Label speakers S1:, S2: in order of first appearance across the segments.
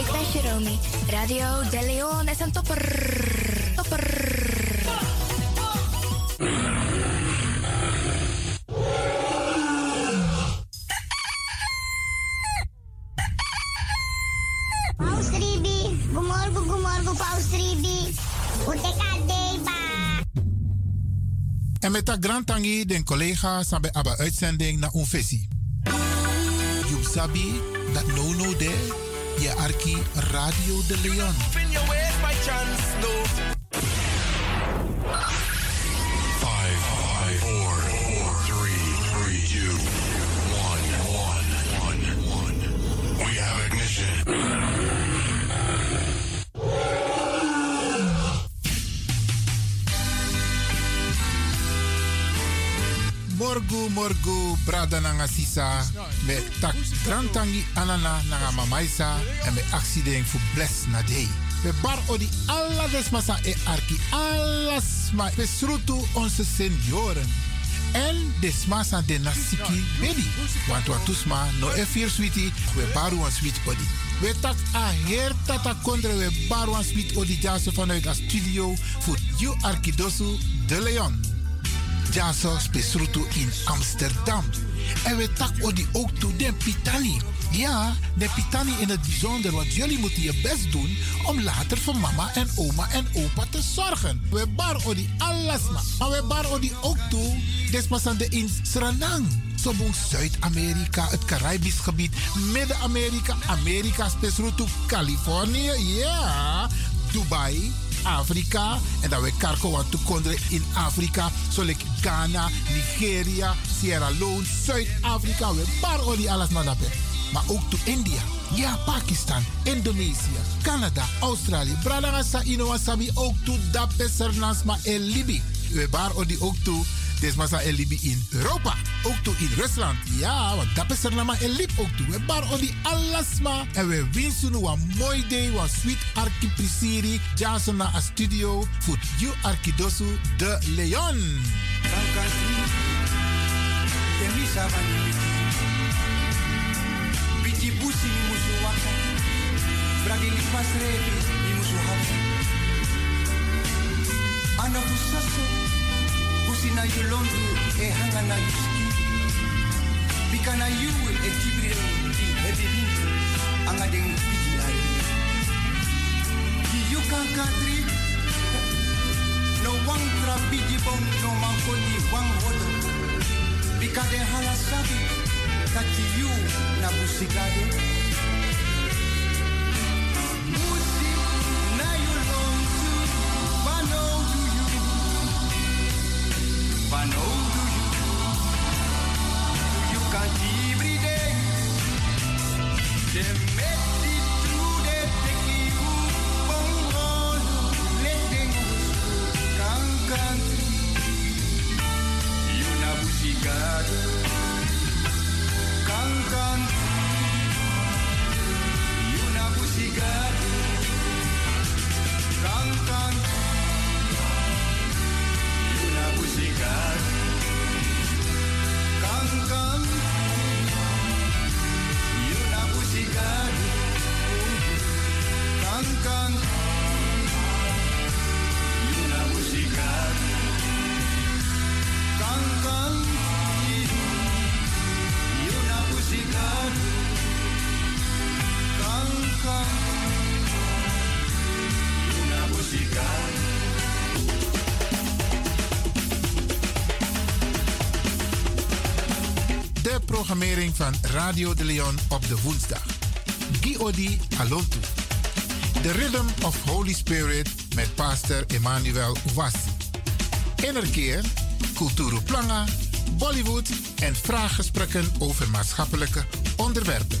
S1: Dankje Romy. Radio De Leon is een topper. Topper.
S2: Paus Ribi, gumorgo, gumorgo, Paus Ribi. Utekadei, ba.
S3: En met dat grand tangi den collega sabe aba uitzending na un visie. You sabi dat no no de je arki Radio de Leon.
S4: Five, five, four, four, three, three, two, one, one, one, one. We have ignition.
S3: Morgu morgu brada nanga sisa met tak grand tangi anana nanga mamaisa en met E accident voor bless na day. We bar odi alla desmasa e arki alles ma we srutu onze senioren. En desmasa de nasiki bedi. Want wat tusma no e fear sweetie we baru wan sweet odi. We tak a her tata kondre we baru wan sweet odi jaso vanuit a studio voor you arkidosu de Leon. Jaso Spesruto in Amsterdam. En we tak odi ook toe de Pitani. Ja, de Pitani in het bijzonder, want jullie moeten je best doen om later voor mama en oma en opa te zorgen. We bar odi alles maar. Maar we bar odi ook toe, despassande in Suriname. Zobong Zuid-Amerika, het Caribisch gebied, Midden-Amerika, Amerika, Spesruto, Californië, ja, Dubai. Afrika. En dat we karko aan toekonderen in Afrika. Zoals Ghana, Nigeria, Sierra Leone, Zuid-Afrika. We bar olie alles maar dat Maar ook to India. Ja, Pakistan, Indonesië, Canada, Australië. Brada sa ino wasabi ook to dape sernas ma el Libi. We bar olie ook to Des massa el Libi in Europa. Ook toe in Rusland. Ja, want dat is er nama el Lib ook toe. We bar odi alles maar. En we winsten een mooi day. Wat sweet arki prisiri. Jason na a studio. Voor you arkidosu de Leon.
S5: Ana busaso, busina yolondu, e hanga na yuski. Bika na yuwe, e kibri ti, e bibintu, anga den fiji ai. Ki yukan katri, no wang tra biji bong, no mankoni wang hodo. Bika de halasabi, kaki yu na busigado. Musi, na yolondu, bano do you, bano do you. You can't every day. They make it through, they take you on all. Let them come country. You na busigado. Come country. You na busigado. Come country. Una música Can can Y una música Can can Y una música Can can Y una música Can can Y una música
S3: De programmering van Radio de Leon op de woensdag. Giodi Alontu. The Rhythm of Holy Spirit met pastor Emmanuel Ouassi. Innerkeer, Kulturu Planga, Bollywood en vraaggesprekken over maatschappelijke onderwerpen.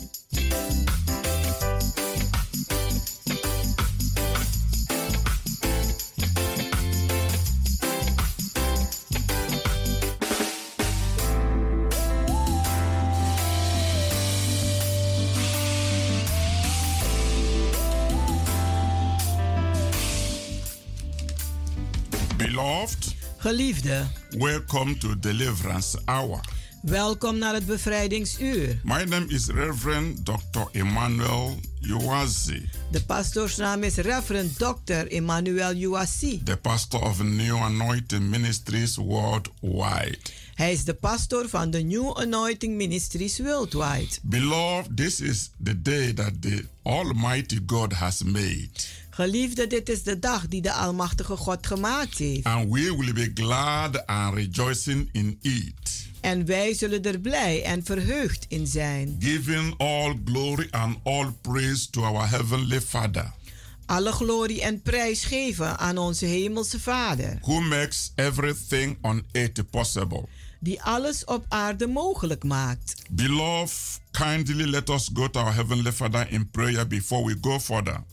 S6: Beloved,
S7: Geliefde,
S6: welcome to Deliverance Hour.
S7: welkom naar het bevrijdingsuur.
S6: My name is Reverend Dr. Emmanuel Uwazi,
S7: De pastoorsnaam is Reverend Dr. Emmanuel Uwasi.
S6: the pastor of New Anointing Ministries worldwide.
S7: Hij is de pastoor van de New Anointing Ministries Worldwide.
S6: Beloved, this is the day that the Almighty God has made,
S7: Geliefde, dit is de dag die de Almachtige God gemaakt heeft.
S6: and we will be glad and rejoicing in it,
S7: En wij zullen er blij en verheugd in zijn.
S6: giving all glory and all praise to our Heavenly Father,
S7: Alle glorie en prijs geven aan onze Hemelse Vader,
S6: who makes everything on earth possible.
S7: die alles op aarde mogelijk maakt.
S6: Beloved, kindly let us go to our Heavenly Father in prayer before we go further.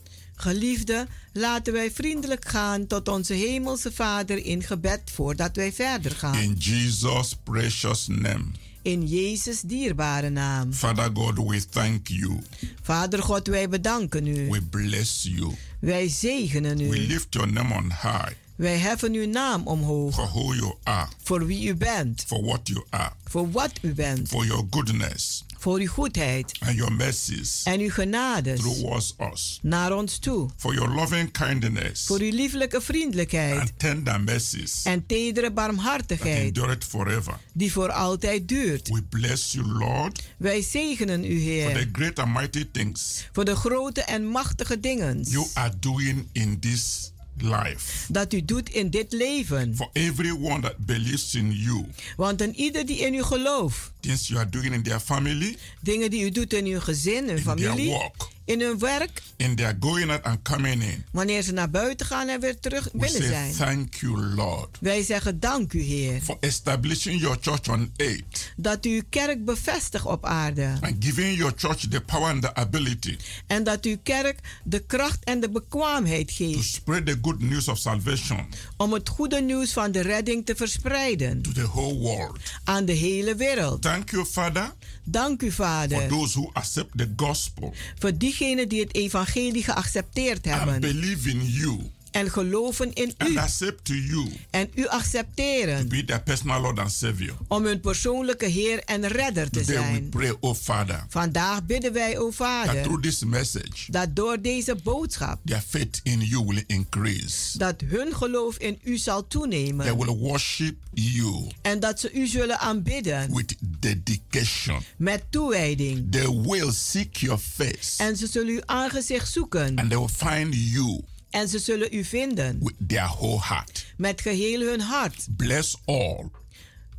S7: Geliefde, laten wij vriendelijk gaan tot onze Hemelse Vader in gebed voordat wij verder gaan.
S6: In Jesus' precious name.
S7: In Jezus' dierbare naam.
S6: Father God, we thank you.
S7: Vader God, wij bedanken u.
S6: We bless you.
S7: Wij zegenen
S6: We
S7: u.
S6: lift your name on high
S7: Wij heffen uw naam omhoog.
S6: for who you are,
S7: Voor wie u bent,
S6: for what you are,
S7: voor wat u bent,
S6: for your goodness
S7: voor uw goedheid
S6: and your mercies
S7: en uw genades
S6: towards us,
S7: naar ons toe.
S6: for your loving kindness
S7: Voor uw lieflijke vriendelijkheid
S6: and tender mercies
S7: en tedere
S6: that
S7: barmhartigheid
S6: endure it forever.
S7: die voor altijd duurt.
S6: We bless you, Lord,
S7: Wij zegenen u,
S6: for the
S7: Heer,
S6: great and mighty things
S7: voor de grote en machtige dingen
S6: you are doing in this life.
S7: dat u doet in dit leven.
S6: For everyone that believes in you,
S7: Want een ieder die in u gelooft,
S6: things you are doing in their family,
S7: dingen die u doet in uw gezin, hun
S6: in their
S7: familie,
S6: work,
S7: in hun werk,
S6: in their going out and coming in,
S7: wanneer ze naar buiten gaan en weer terug
S6: we
S7: binnen
S6: say
S7: zijn.
S6: thank you, Lord,
S7: Wij zeggen dank u, Heer,
S6: for establishing your church on earth
S7: dat u uw kerk bevestigt op aarde.
S6: and giving your church the power and the ability
S7: En dat uw kerk de kracht en de bekwaamheid
S6: to
S7: geeft
S6: spread the good news of salvation
S7: om het goede nieuws van de redding te verspreiden
S6: to the whole world.
S7: aan de hele wereld.
S6: Thank you, Father,
S7: Dank u,
S6: for
S7: Vader,
S6: those who accept the gospel
S7: voor diegenen die het evangelie geaccepteerd
S6: and
S7: hebben
S6: believe in you
S7: en geloven in
S6: and
S7: u
S6: accept to you
S7: en u
S6: to
S7: accepteren
S6: be their personal Lord and Savior.
S7: om hun persoonlijke Heer en Redder te
S6: Today we
S7: zijn.
S6: pray, oh Father,
S7: Vandaag bidden wij, o
S6: that
S7: Vader,
S6: through this message,
S7: dat door deze boodschap
S6: their faith in you will increase.
S7: dat hun geloof in u zal
S6: They
S7: toenemen
S6: will worship you
S7: en dat ze u zullen aanbidden
S6: with dedication.
S7: met toewijding.
S6: They will seek your face
S7: En ze zullen uw aangezicht zoeken
S6: and they will find you
S7: en ze zullen u vinden
S6: with their whole heart.
S7: met geheel hun hart.
S6: Bless all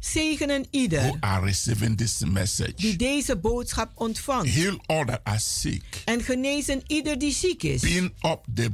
S7: Zegenen
S6: who
S7: ieder
S6: are receiving this
S7: die
S6: message.
S7: deze boodschap ontvangt
S6: Heal all that are sick.
S7: en genezen ieder die ziek is
S6: Being up the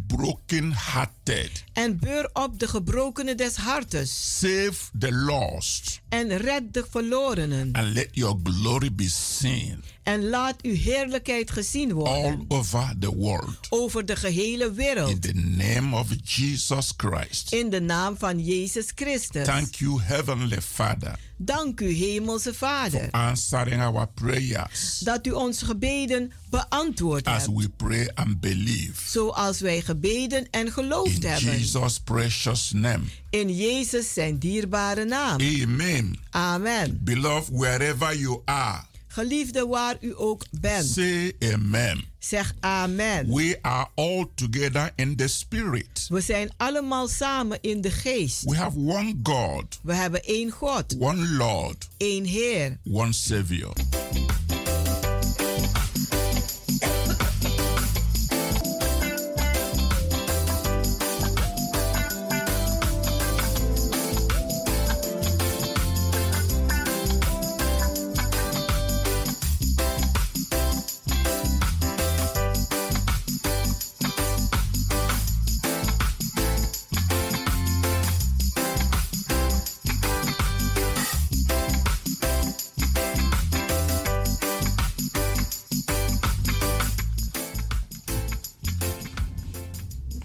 S6: broken-hearted.
S7: en beur op de gebrokenen des hartes
S6: Save the lost
S7: en red de verlorenen
S6: and let your glory be seen
S7: en laat uw heerlijkheid gezien
S6: all
S7: worden
S6: over the world.
S7: over de gehele wereld
S6: In the name of Jesus Christ.
S7: in de naam van Jezus Christus.
S6: Thank you, Heavenly Father,
S7: Dank u, Hemelse Vader,
S6: answering our prayers
S7: dat u onze gebeden beantwoord
S6: as
S7: hebt,
S6: we pray and believe.
S7: zoals wij gebeden en
S6: In
S7: geloofd hebben.
S6: Jesus' precious name.
S7: In Jezus zijn dierbare naam.
S6: Amen.
S7: Amen.
S6: Beloved, wherever you are,
S7: Geliefde waar u ook bent,
S6: Say amen.
S7: zeg amen.
S6: We are all together in the spirit.
S7: We zijn allemaal samen in de geest.
S6: We have one God,
S7: We hebben één God,
S6: one Lord,
S7: één Heer.
S6: one Savior.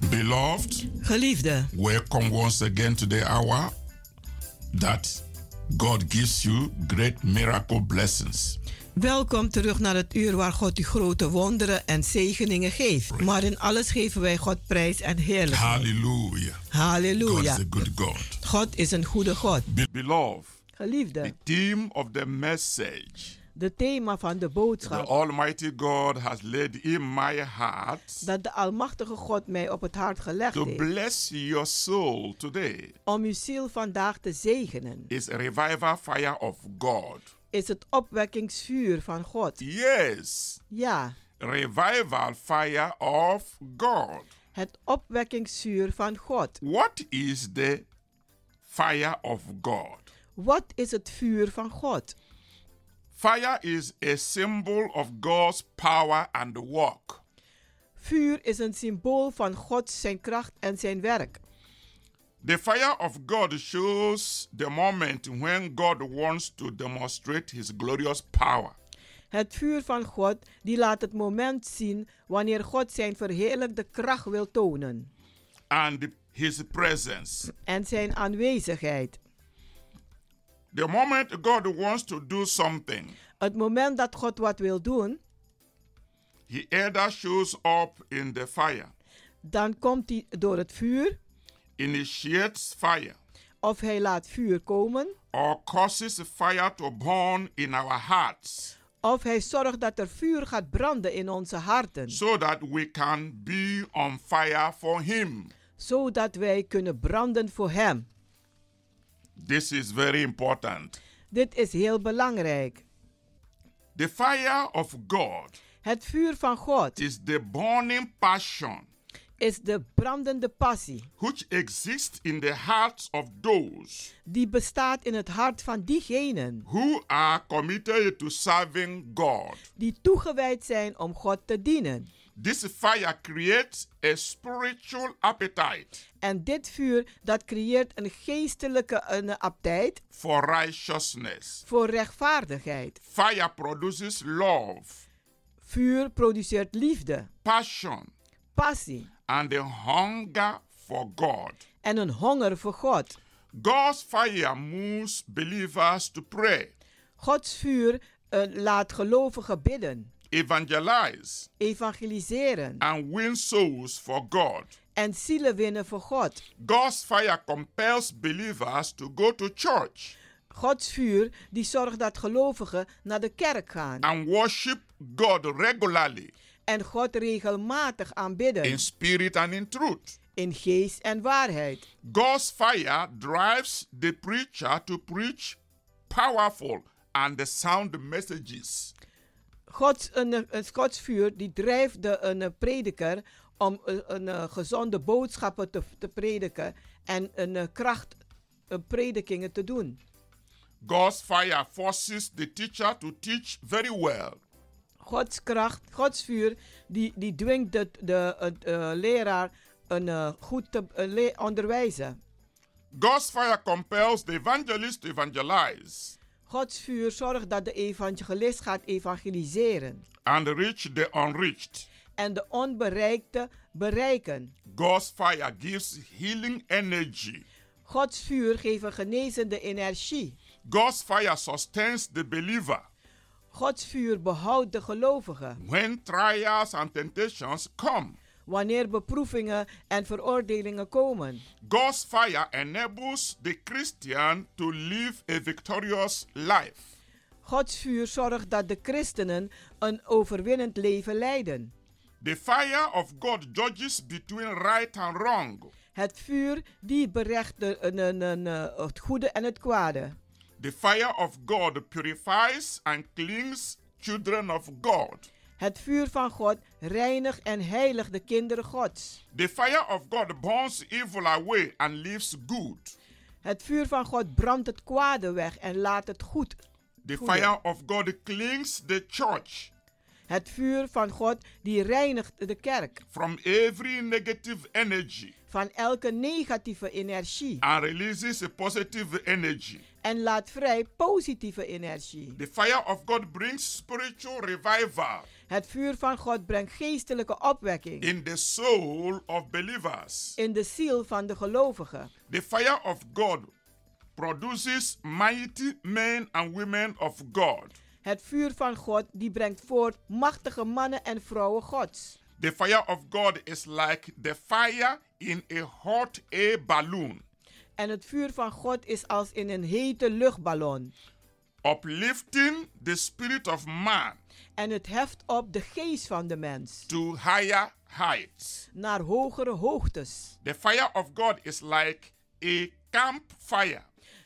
S6: Beloved,
S7: Geliefde,
S6: welcome once again to the hour that God gives you great miracle blessings.
S7: welkom terug naar het uur waar God u grote wonderen en zegeningen geeft. Maar in alles geven wij God prijs en heerlijk.
S6: Hallelujah. God
S7: Halleluja.
S6: is a good God.
S7: God is een goede God.
S6: Be- Beloved, the
S7: Geliefde,
S6: theme of the message
S7: de thema van de
S6: the
S7: boodschap
S6: Almighty God has laid in my heart
S7: dat de Almachtige God mij op het hart gelegd
S6: to
S7: heeft
S6: bless your soul today
S7: om uw ziel vandaag te zegenen,
S6: is a revival fire of God.
S7: is het opwekkingsvuur van God.
S6: Yes,
S7: Ja,
S6: revival fire of God.
S7: het opwekkingsvuur van God.
S6: What is the fire of God?
S7: Wat is het vuur van God?
S6: Fire is a symbol of God's power and work.
S7: Vuur is een symbool van God, zijn kracht en zijn werk.
S6: The fire of God shows the moment when God wants to demonstrate his glorious power.
S7: Het vuur van God die laat het moment zien wanneer God zijn verheerlijkte kracht wil tonen
S6: and his presence.
S7: en zijn aanwezigheid.
S6: The moment God wants to do something,
S7: Het moment dat God wat wil doen,
S6: he either shows up in the fire,
S7: dan komt hij door het vuur
S6: initiates fire,
S7: of hij laat vuur komen
S6: or causes fire to burn in our hearts
S7: of hij zorgt dat er vuur gaat branden in onze harten,
S6: so that we can be on fire for him.
S7: zodat wij kunnen branden voor hem.
S6: This is very important.
S7: Dit is heel belangrijk.
S6: The fire of God
S7: Het vuur van God
S6: is the burning passion
S7: is de brandende passie
S6: which exists in the hearts of those
S7: die bestaat in het hart van diegenen
S6: who are committed to serving God.
S7: die toegewijd zijn om God te dienen.
S6: This fire creates a spiritual appetite
S7: En dit vuur dat creëert een geestelijke een aptheid
S6: for righteousness.
S7: voor rechtvaardigheid.
S6: Fire produces love,
S7: Vuur produceert liefde,
S6: passion,
S7: passie
S6: and a hunger for God.
S7: en een honger voor God.
S6: God's fire moves believers to pray,
S7: Gods vuur eh, laat gelovigen bidden,
S6: evangelize,
S7: evangeliseren
S6: and win souls for God.
S7: en zielen winnen voor God.
S6: God's fire compels believers to go to church
S7: Gods vuur die zorgt dat gelovigen naar de kerk gaan
S6: and worship God regularly
S7: en God regelmatig aanbidden
S6: in spirit and in truth.
S7: in geest en waarheid.
S6: God's fire drives the preacher to preach powerful and sound messages.
S7: Gods, een, eh, een Gods vuur die drijft de een eh, prediker om eh, een, eh, gezonde boodschappen te, te prediken en een eh, kracht eh, predikingen te doen.
S6: God's fire forces the teacher to teach very well
S7: Gods kracht, Gods vuur, die, die dwingt de, de eh, eh, leraar een eh, goed te eh, le- onderwijzen.
S6: God's fire compels the evangelist to evangelize
S7: Gods vuur zorgt dat de evangelist gaat evangeliseren
S6: and reach the unreached.
S7: en de onbereikte bereiken.
S6: God's fire gives healing energy.
S7: Gods vuur geeft een genezende energie.
S6: God's fire sustains the believer
S7: Gods vuur behoudt de gelovigen.
S6: when trials and temptations come.
S7: wanneer beproevingen en veroordelingen komen.
S6: God's fire enables the Christian to live a victorious life.
S7: Gods vuur zorgt dat de christenen een overwinnend leven leiden.
S6: The fire of God judges between right and wrong.
S7: Het vuur die berecht de, een- een- een, eh, het goede en het kwade.
S6: The fire of God purifies and cleans children of God.
S7: Het vuur van God reinigt en heiligt de kinderen Gods.
S6: The fire of God burns evil away and leaves good.
S7: Het vuur van God brandt het kwade weg en laat het goed.
S6: The
S7: Goeie.
S6: fire of God cleans the church
S7: Het vuur van God die reinigt de kerk
S6: from every negative energy
S7: van elke negatieve energie
S6: and releases a positive energy.
S7: en laat vrij positieve energie.
S6: The fire of God brings spiritual revival
S7: Het vuur van God brengt geestelijke opwekking
S6: in the soul of believers.
S7: in de ziel van de gelovigen.
S6: The fire of God produces mighty men and women of God.
S7: Het vuur van God die brengt voort machtige mannen en vrouwen Gods.
S6: The fire of God is like the fire in a hot air balloon,
S7: En het vuur van God is als in een hete luchtballon.
S6: uplifting the spirit of man
S7: En het heft op de geest van de mens
S6: to higher heights.
S7: naar hogere hoogtes.
S6: The fire of God is like a campfire,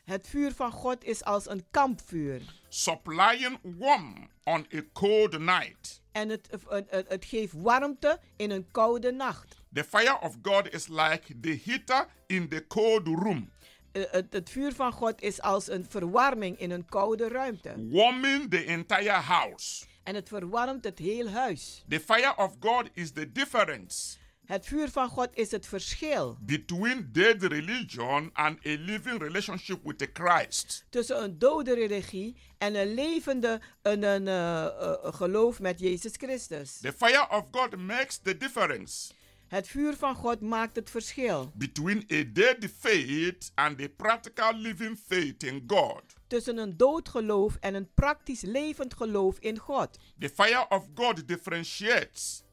S7: Het vuur van God is als een kampvuur.
S6: supplying warmth on a cold night.
S7: En het, het, het- het geeft warmte in een koude nacht.
S6: The fire of God is like the heater in the cold room,
S7: Eh, Het, het vuur van God is als een verwarming in een koude ruimte.
S6: warming the entire house.
S7: En het verwarmt het heel huis.
S6: The fire of God is the difference
S7: Het vuur van God is het verschil
S6: between dead religion and a living relationship with the Christ.
S7: tussen een dode religie en een levende een, een, eh, eh, geloof met Jezus Christus.
S6: The fire of God makes the difference
S7: Het vuur van God maakt het verschil
S6: between a dead faith and a practical living faith in God.
S7: tussen een dood geloof en een praktisch levend geloof in God.
S6: The fire of God differentiates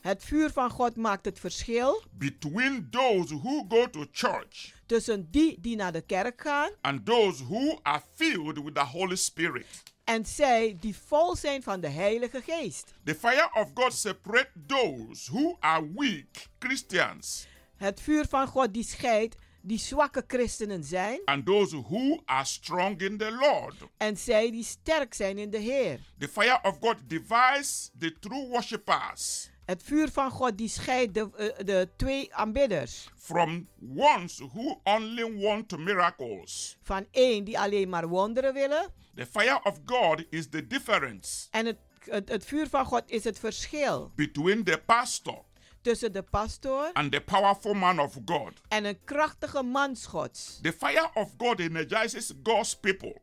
S7: Het vuur van God maakt het verschil
S6: between those who go to church
S7: tussen die die naar de kerk gaan
S6: and those who are filled with the Holy Spirit.
S7: en zij die vol zijn van de Heilige Geest.
S6: The fire of God separates those who are weak Christians
S7: Het vuur van God die scheidt die zwakke christenen zijn
S6: and those who are strong in the Lord.
S7: en zij die sterk zijn in de Heer.
S6: The fire of God divides the true worshippers
S7: Het vuur van God die scheidt de, eh, de twee aanbidders
S6: from ones who only want miracles.
S7: van één die alleen maar wonderen willen.
S6: The fire of God is the difference
S7: En het, het, het vuur van God is het verschil
S6: between the pastor
S7: tussen de pastoor
S6: and the powerful man of God.
S7: en een krachtige mansgods.
S6: The fire of God energizes God's people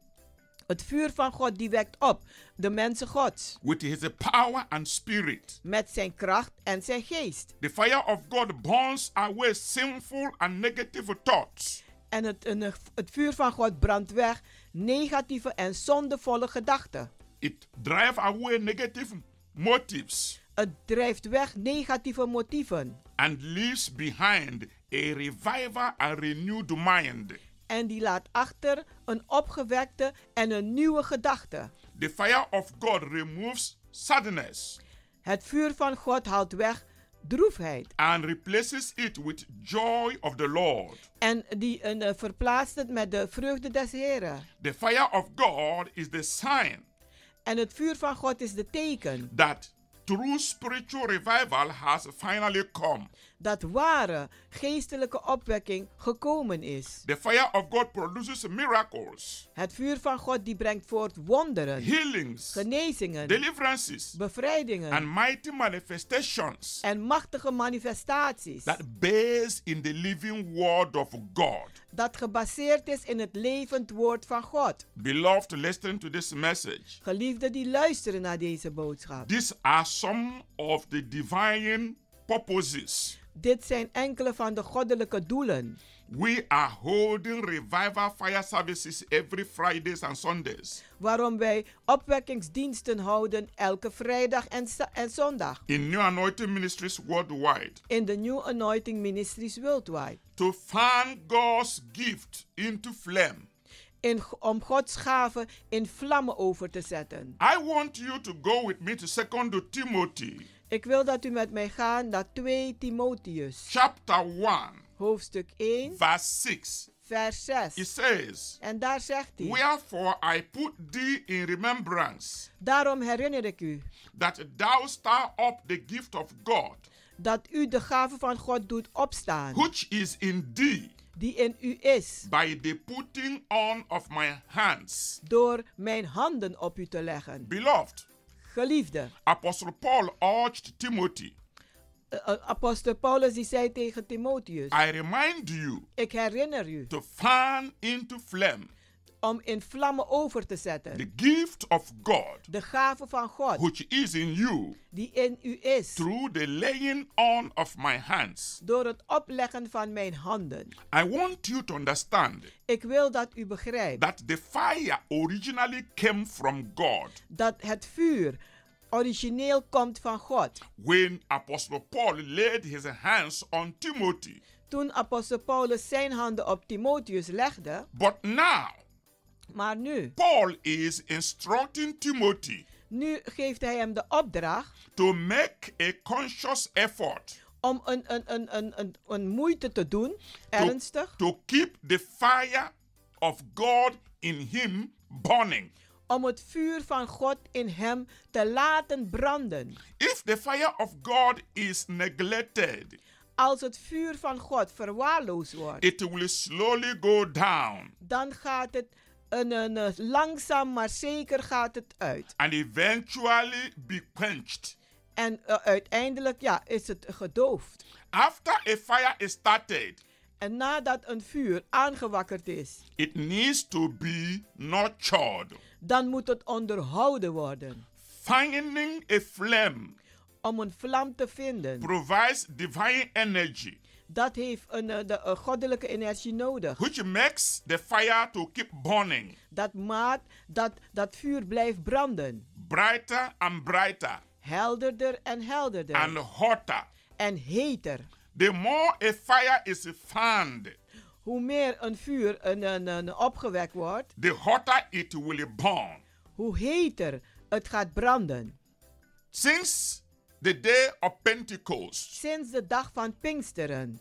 S7: Het vuur van God die wekt op de mensen gods
S6: with his power and spirit.
S7: met zijn kracht en zijn geest.
S6: The fire of God burns away sinful and negative thoughts
S7: En het, en het vuur van God brandt weg negatieve en zondevolle gedachten.
S6: it drives away negative motives
S7: Het drijft weg negatieve motieven
S6: and leaves behind a revival and renewed mind.
S7: en die laat achter een opgewekte en een nieuwe gedachte.
S6: The fire of God removes sadness
S7: Het vuur van God haalt weg droefheid
S6: and replaces it with joy of the Lord.
S7: en die een, eh, verplaatst het met de vreugde des Heren.
S6: The fire of God is the sign
S7: En het vuur van God is de teken
S6: that true spiritual revival has finally come.
S7: dat ware geestelijke opwekking gekomen is.
S6: The fire of God produces miracles,
S7: Het vuur van God die brengt voort wonderen,
S6: healings,
S7: genezingen,
S6: deliverances, and
S7: bevrijdingen
S6: mighty manifestations
S7: en machtige manifestaties.
S6: that base in the living word of God.
S7: Dat gebaseerd is in het levend woord van God.
S6: Beloved, listen to this message.
S7: Geliefden die luisteren naar deze boodschap.
S6: These are some of the divine purposes
S7: Dit zijn enkele van de goddelijke doelen.
S6: We are holding revival fire services every Fridays and Sundays
S7: Waarom wij opwekkingsdiensten houden elke vrijdag en, za- en zondag.
S6: in New Anointing Ministries worldwide
S7: In de New Anointing Ministries Worldwide.
S6: to fan God's gift into flame
S7: in, om Gods gaven in vlammen over te zetten.
S6: I want you to go with me to 2 Timothy
S7: Ik wil dat u met mij gaat naar 2 Timotheus,
S6: chapter 1,
S7: hoofdstuk 1,
S6: verse 6.
S7: vers
S6: It
S7: 6.
S6: says,
S7: En daar zegt hij:
S6: Wherefore I put thee in remembrance
S7: Daarom herinner ik u
S6: that thou stir up the gift of God,
S7: dat u de gave van God doet opstaan,
S6: which is in thee
S7: die in u is,
S6: by the putting on of my hands.
S7: door mijn handen op u te leggen.
S6: Beloved,
S7: Geliefde,
S6: Apostle Paul urged Timothy,
S7: eh, eh, apostel Paulus die zei tegen Timotheus:
S6: I remind you
S7: Ik herinner u
S6: to fan into flame
S7: om in vlammen over te zetten
S6: the gift of God,
S7: de gave van God
S6: which is in you
S7: die in u is,
S6: through the laying on of my hands.
S7: door het opleggen van mijn handen.
S6: I want you to understand
S7: Ik wil dat u begrijpt
S6: that the fire originally came from God.
S7: dat het vuur origineel komt van God.
S6: When Apostle Paul laid his hands on Timothy,
S7: Toen apostel Paulus zijn handen op Timotheus legde,
S6: but now
S7: maar nu,
S6: Paul is instructing Timothy
S7: nu geeft hij hem de opdracht
S6: to make a conscious effort
S7: om een, een, een, een, een, een moeite te doen, ernstig,
S6: to keep the fire of God in him burning.
S7: om het vuur van God in hem te laten branden.
S6: If the fire of God is neglected,
S7: Als het vuur van God verwaarloosd wordt,
S6: it will slowly go down
S7: dan gaat het een, een, een- langzaam maar zeker gaat het uit.
S6: and eventually be quenched.
S7: En eh, uiteindelijk ja, is het gedoofd.
S6: After a fire is started,
S7: En nadat een vuur aangewakkerd is,
S6: it needs to be nurtured.
S7: dan moet het onderhouden worden.
S6: Finding a flame
S7: Om een vlam te vinden,
S6: provides divine energy,
S7: dat heeft een, eh, de eh, goddelijke energie nodig.
S6: which makes the fire to keep burning
S7: Dat maakt dat dat vuur blijft branden.
S6: brighter and brighter
S7: Helderder en helderder.
S6: and hotter.
S7: en heter.
S6: The more a fire is fanned,
S7: Hoe meer een vuur een, een, een opgewekt wordt,
S6: the hotter it will burn.
S7: hoe heter het gaat branden.
S6: Since the day of Pentecost,
S7: Sinds de dag van Pinksteren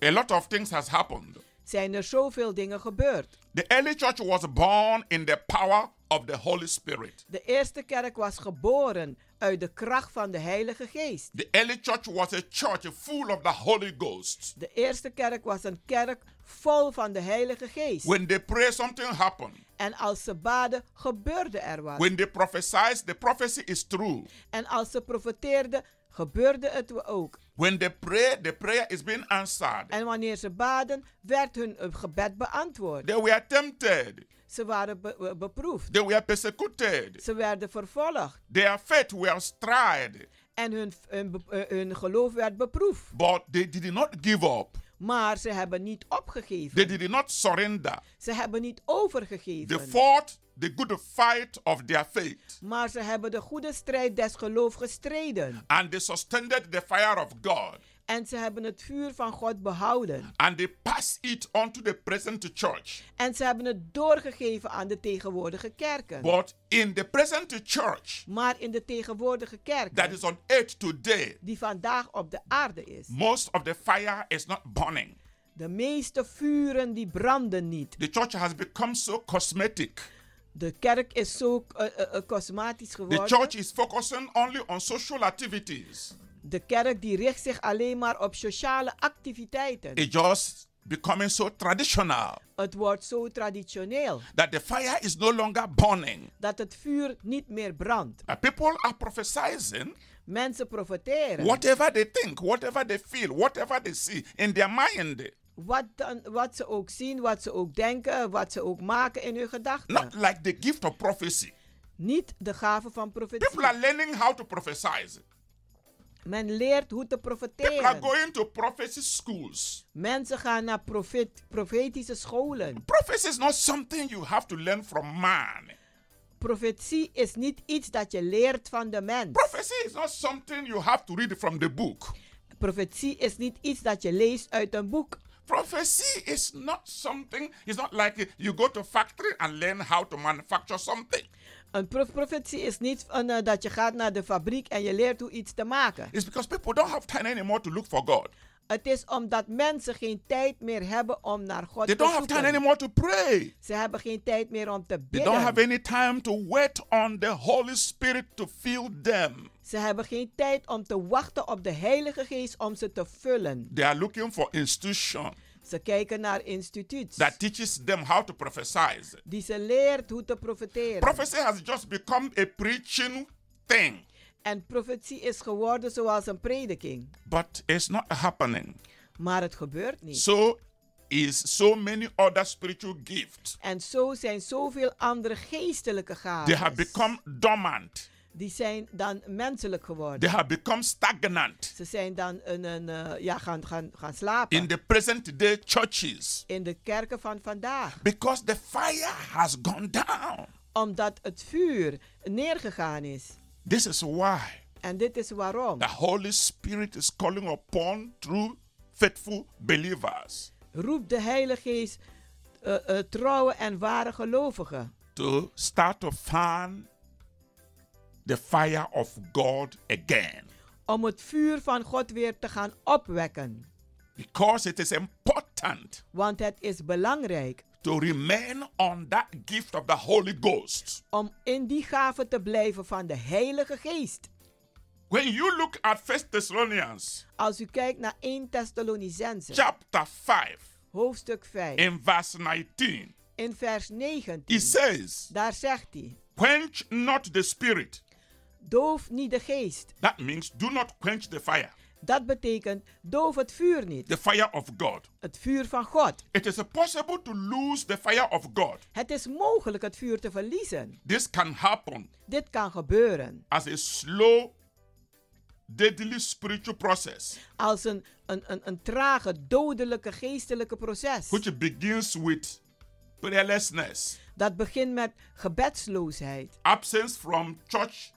S6: a lot of things has happened.
S7: zijn er zoveel dingen gebeurd.
S6: The early church was born in the power of the Holy Spirit.
S7: De eerste kerk was geboren uit de kracht van de Heilige Geest.
S6: The early church was a church full of the Holy Ghost.
S7: De eerste kerk was een kerk vol van de Heilige Geest.
S6: When they pray, something happened.
S7: en als ze baden, gebeurde er wat.
S6: When they prophesied, the prophecy is true.
S7: en als ze profeteerden, gebeurde het ook.
S6: When they pray, the prayer is being answered.
S7: En wanneer ze baden, werd hun eh, gebed beantwoord.
S6: They were tempted.
S7: Ze waren be- be- beproefd.
S6: They were persecuted.
S7: Ze werden vervolgd.
S6: Their faith was tried.
S7: En hun, hun, be- eh, hun geloof werd beproefd.
S6: But they did not give up.
S7: Maar ze hebben niet
S6: They
S7: opgegeven.
S6: did not surrender.
S7: Ze hebben niet
S6: They
S7: overgegeven.
S6: fought the good fight of their faith.
S7: Maar ze hebben de goede strijd des geloof gestreden.
S6: And they sustained the fire of God.
S7: En ze hebben het vuur van God behouden.
S6: And they passed it on to the present church.
S7: En ze hebben het doorgegeven aan de tegenwoordige kerken.
S6: But in the present church
S7: Maar in de tegenwoordige
S6: that
S7: kerken,
S6: is on earth today,
S7: die vandaag op de aarde is,
S6: most of the fire is not burning.
S7: de meeste vuren die branden niet.
S6: The church has become so cosmetic.
S7: De kerk is zo eh, eh, eh, cosmetisch
S6: The
S7: geworden.
S6: church is focusing only on social activities.
S7: De kerk die richt zich alleen maar op sociale activiteiten.
S6: It's just becoming so traditional
S7: Het wordt zo traditioneel
S6: that the fire is no longer burning.
S7: dat het vuur niet meer brandt.
S6: Uh, People are prophesying
S7: Mensen profiteren.
S6: whatever they think, whatever they feel, whatever they see in their mind.
S7: Wat, dan, wat ze ook zien, wat ze ook denken, wat ze ook maken in hun gedachten.
S6: Not like the gift of prophecy.
S7: Niet de gave van profetie.
S6: People are learning how to prophesy.
S7: Men leert hoe te
S6: People are
S7: profiteren.
S6: going to prophecy schools.
S7: Mensen gaan naar profet, profetische scholen.
S6: Prophecy is not something you have to learn from man.
S7: Profetie is niet iets dat je leert van de mens.
S6: Prophecy is not something you have to read from the book.
S7: Profetie is niet iets dat je leest uit een boek.
S6: Prophecy is not something, it's not like you go to factory and learn how to manufacture something.
S7: Een prof- profetie is niet van, eh, dat je gaat naar de fabriek en je leert hoe iets te maken.
S6: It's because people don't have time anymore to look for God.
S7: Het is omdat mensen geen tijd meer hebben om naar God
S6: They
S7: te
S6: don't have time
S7: zoeken.
S6: anymore to pray.
S7: Ze hebben geen tijd meer om te
S6: They don't have
S7: bidden.
S6: any time to wait on the Holy Spirit to fill them.
S7: Ze hebben geen tijd om te wachten op de Heilige Geest om ze te vullen.
S6: They are looking for institution
S7: Ze kijken naar instituuts
S6: that teaches them how to prophesy.
S7: die ze leert hoe te profeteren.
S6: Prophecy has just become a preaching thing,
S7: en profetie is geworden zoals een prediking.
S6: but it's not happening.
S7: Maar het gebeurt niet.
S6: So is so many other spiritual gifts.
S7: en zo zijn zoveel andere geestelijke
S6: They have
S7: gaven.
S6: become dormant.
S7: Die zijn dan menselijk geworden.
S6: They have become stagnant
S7: Ze zijn dan een, een, eh, ja, gaan, gaan, gaan slapen.
S6: in the present day churches
S7: in de kerken van vandaag.
S6: because the fire has gone down.
S7: Omdat het vuur neergegaan is.
S6: This is why
S7: En dit is waarom.
S6: the Holy Spirit is calling upon true faithful believers
S7: Roep de Heilige Geest eh, eh, trouwe en ware gelovigen.
S6: to start to fan the fire of God again
S7: Om het vuur van God weer te gaan opwekken.
S6: because it is important
S7: Want het is belangrijk
S6: to remain on that gift of the Holy Ghost.
S7: om in die gave te blijven van de Heilige Geest.
S6: When you look at First Thessalonians
S7: Als u kijkt naar 1 Thessalonicense,
S6: chapter 5
S7: hoofdstuk 5,
S6: in verse 19,
S7: in vers 19,
S6: it says,
S7: daar zegt hij:
S6: "Quench not the spirit."
S7: Doof niet de geest.
S6: That means do not quench the fire,
S7: Dat betekent doof het vuur niet,
S6: the fire of God.
S7: het vuur van God.
S6: It is possible to lose the fire of God.
S7: Het is mogelijk het vuur te verliezen.
S6: This can happen
S7: Dit kan gebeuren
S6: as a slow, deadly spiritual process,
S7: als een, een, een, een trage, dodelijke geestelijke proces.
S6: which begins with prayerlessness,
S7: Dat begint met gebedsloosheid,
S6: absence from church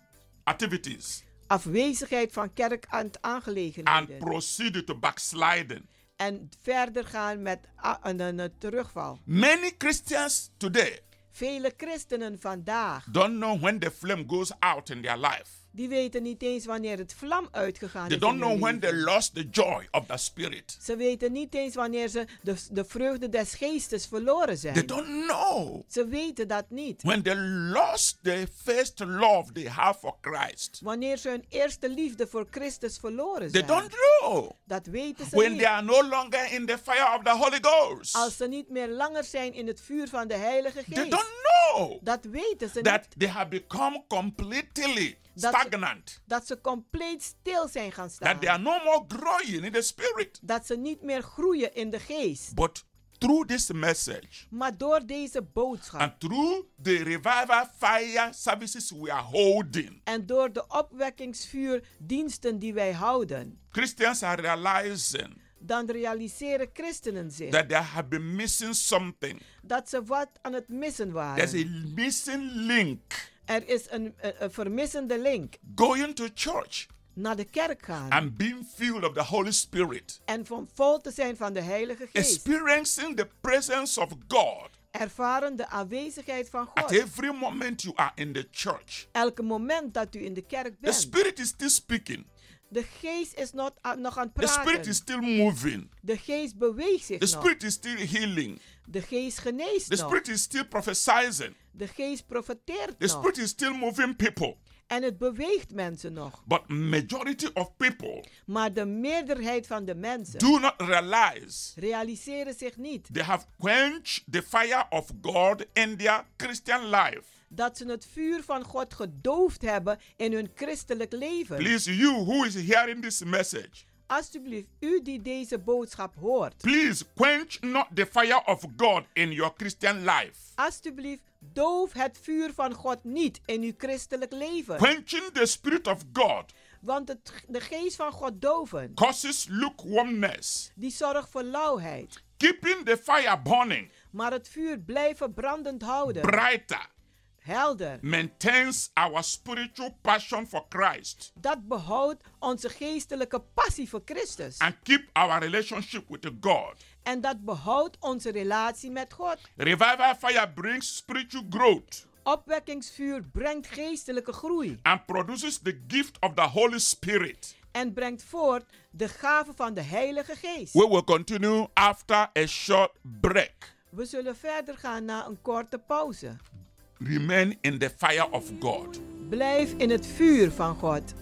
S6: activities,
S7: afwezigheid van kerk aan
S6: and
S7: aangelegenheden.
S6: proceed to backsliding.
S7: En verder gaan met a- een, een- een terugval.
S6: Many Christians today
S7: Vele christenen vandaag,
S6: don't know when the flame goes out in their life.
S7: die weten niet eens wanneer het vlam uitgegaan
S6: They
S7: is. in
S6: don't know
S7: hun
S6: when they
S7: leven.
S6: lost the joy of the spirit.
S7: Ze weten niet eens wanneer ze de, de vreugde des geestes verloren
S6: They
S7: zijn.
S6: don't know
S7: Ze weten dat niet.
S6: when they lost the first love they have for Christ.
S7: Wanneer ze hun eerste liefde voor Christus verloren zijn.
S6: They don't know
S7: Dat weten ze
S6: when
S7: niet.
S6: they are no longer in the fire of the Holy Ghost.
S7: Als ze niet meer langer zijn in het vuur van de Heilige
S6: They
S7: Geest.
S6: don't know
S7: Dat weten ze
S6: that
S7: niet.
S6: they have become completely
S7: Dat-
S6: stagnant,
S7: Dat ze compleet stil zijn gaan staan.
S6: that they are no more growing in the spirit.
S7: Dat ze niet meer groeien in de geest.
S6: But through this message
S7: Maar door deze boodschap
S6: and through the revival fire services we are holding,
S7: en door de opwekkingsvuurdiensten die wij houden,
S6: Christians are realizing
S7: dan realiseren christenen zich
S6: that they have been missing something.
S7: dat ze wat aan het missen
S6: There's a
S7: waren.
S6: missing link.
S7: Er is een, een, een vermissende link
S6: going to church
S7: naar de kerk gaan
S6: and being filled of the Holy Spirit,
S7: en van vol te zijn van de Heilige Geest.
S6: experiencing the presence of God
S7: Ervaren de aanwezigheid van
S6: at
S7: God.
S6: every moment you are in the church.
S7: Elke moment dat u in de kerk
S6: The
S7: bent.
S6: Spirit is still speaking,
S7: De geest is not, aan- nog aan het
S6: the Spirit
S7: praten.
S6: is still moving,
S7: De geest beweegt
S6: the
S7: zich nog.
S6: Spirit is still healing,
S7: De geest geneest
S6: the
S7: nog.
S6: Spirit is still prophesying,
S7: De geest profeteert
S6: the
S7: nog.
S6: Spirit is still moving people.
S7: En het beweegt mensen nog.
S6: But majority of people
S7: Maar de meerderheid van de mensen
S6: do not realize
S7: realiseren zich niet
S6: they have quenched the fire of God in their Christian life.
S7: dat ze het vuur van God gedoofd hebben in hun christelijk leven.
S6: Please, you who is hearing this message,
S7: Alsjeblieft, u die deze boodschap hoort.
S6: Please quench not the fire of God in your Christian life.
S7: Alsjeblieft, doof het vuur van God niet in uw christelijk leven.
S6: Quenching the Spirit of God
S7: Want het, de geest van God doven,
S6: causes lukewarmness.
S7: die zorgt voor lauwheid.
S6: Keeping the fire burning
S7: Maar het vuur blijven brandend houden,
S6: brighter
S8: helder.
S6: maintains our spiritual passion for Christ
S8: Dat behoudt onze geestelijke passie voor Christus.
S6: and keep our relationship with God.
S8: En dat behoudt onze relatie met God.
S6: Revival fire brings spiritual growth
S8: Opwekkingsvuur brengt geestelijke groei
S6: and produces the gift of the Holy Spirit.
S8: en brengt voort de gave van de Heilige Geest.
S6: We will continue after a short break.
S8: We zullen verder gaan na een korte pauze.
S6: Remain in the fire of God.
S8: Blijf in het vuur van God.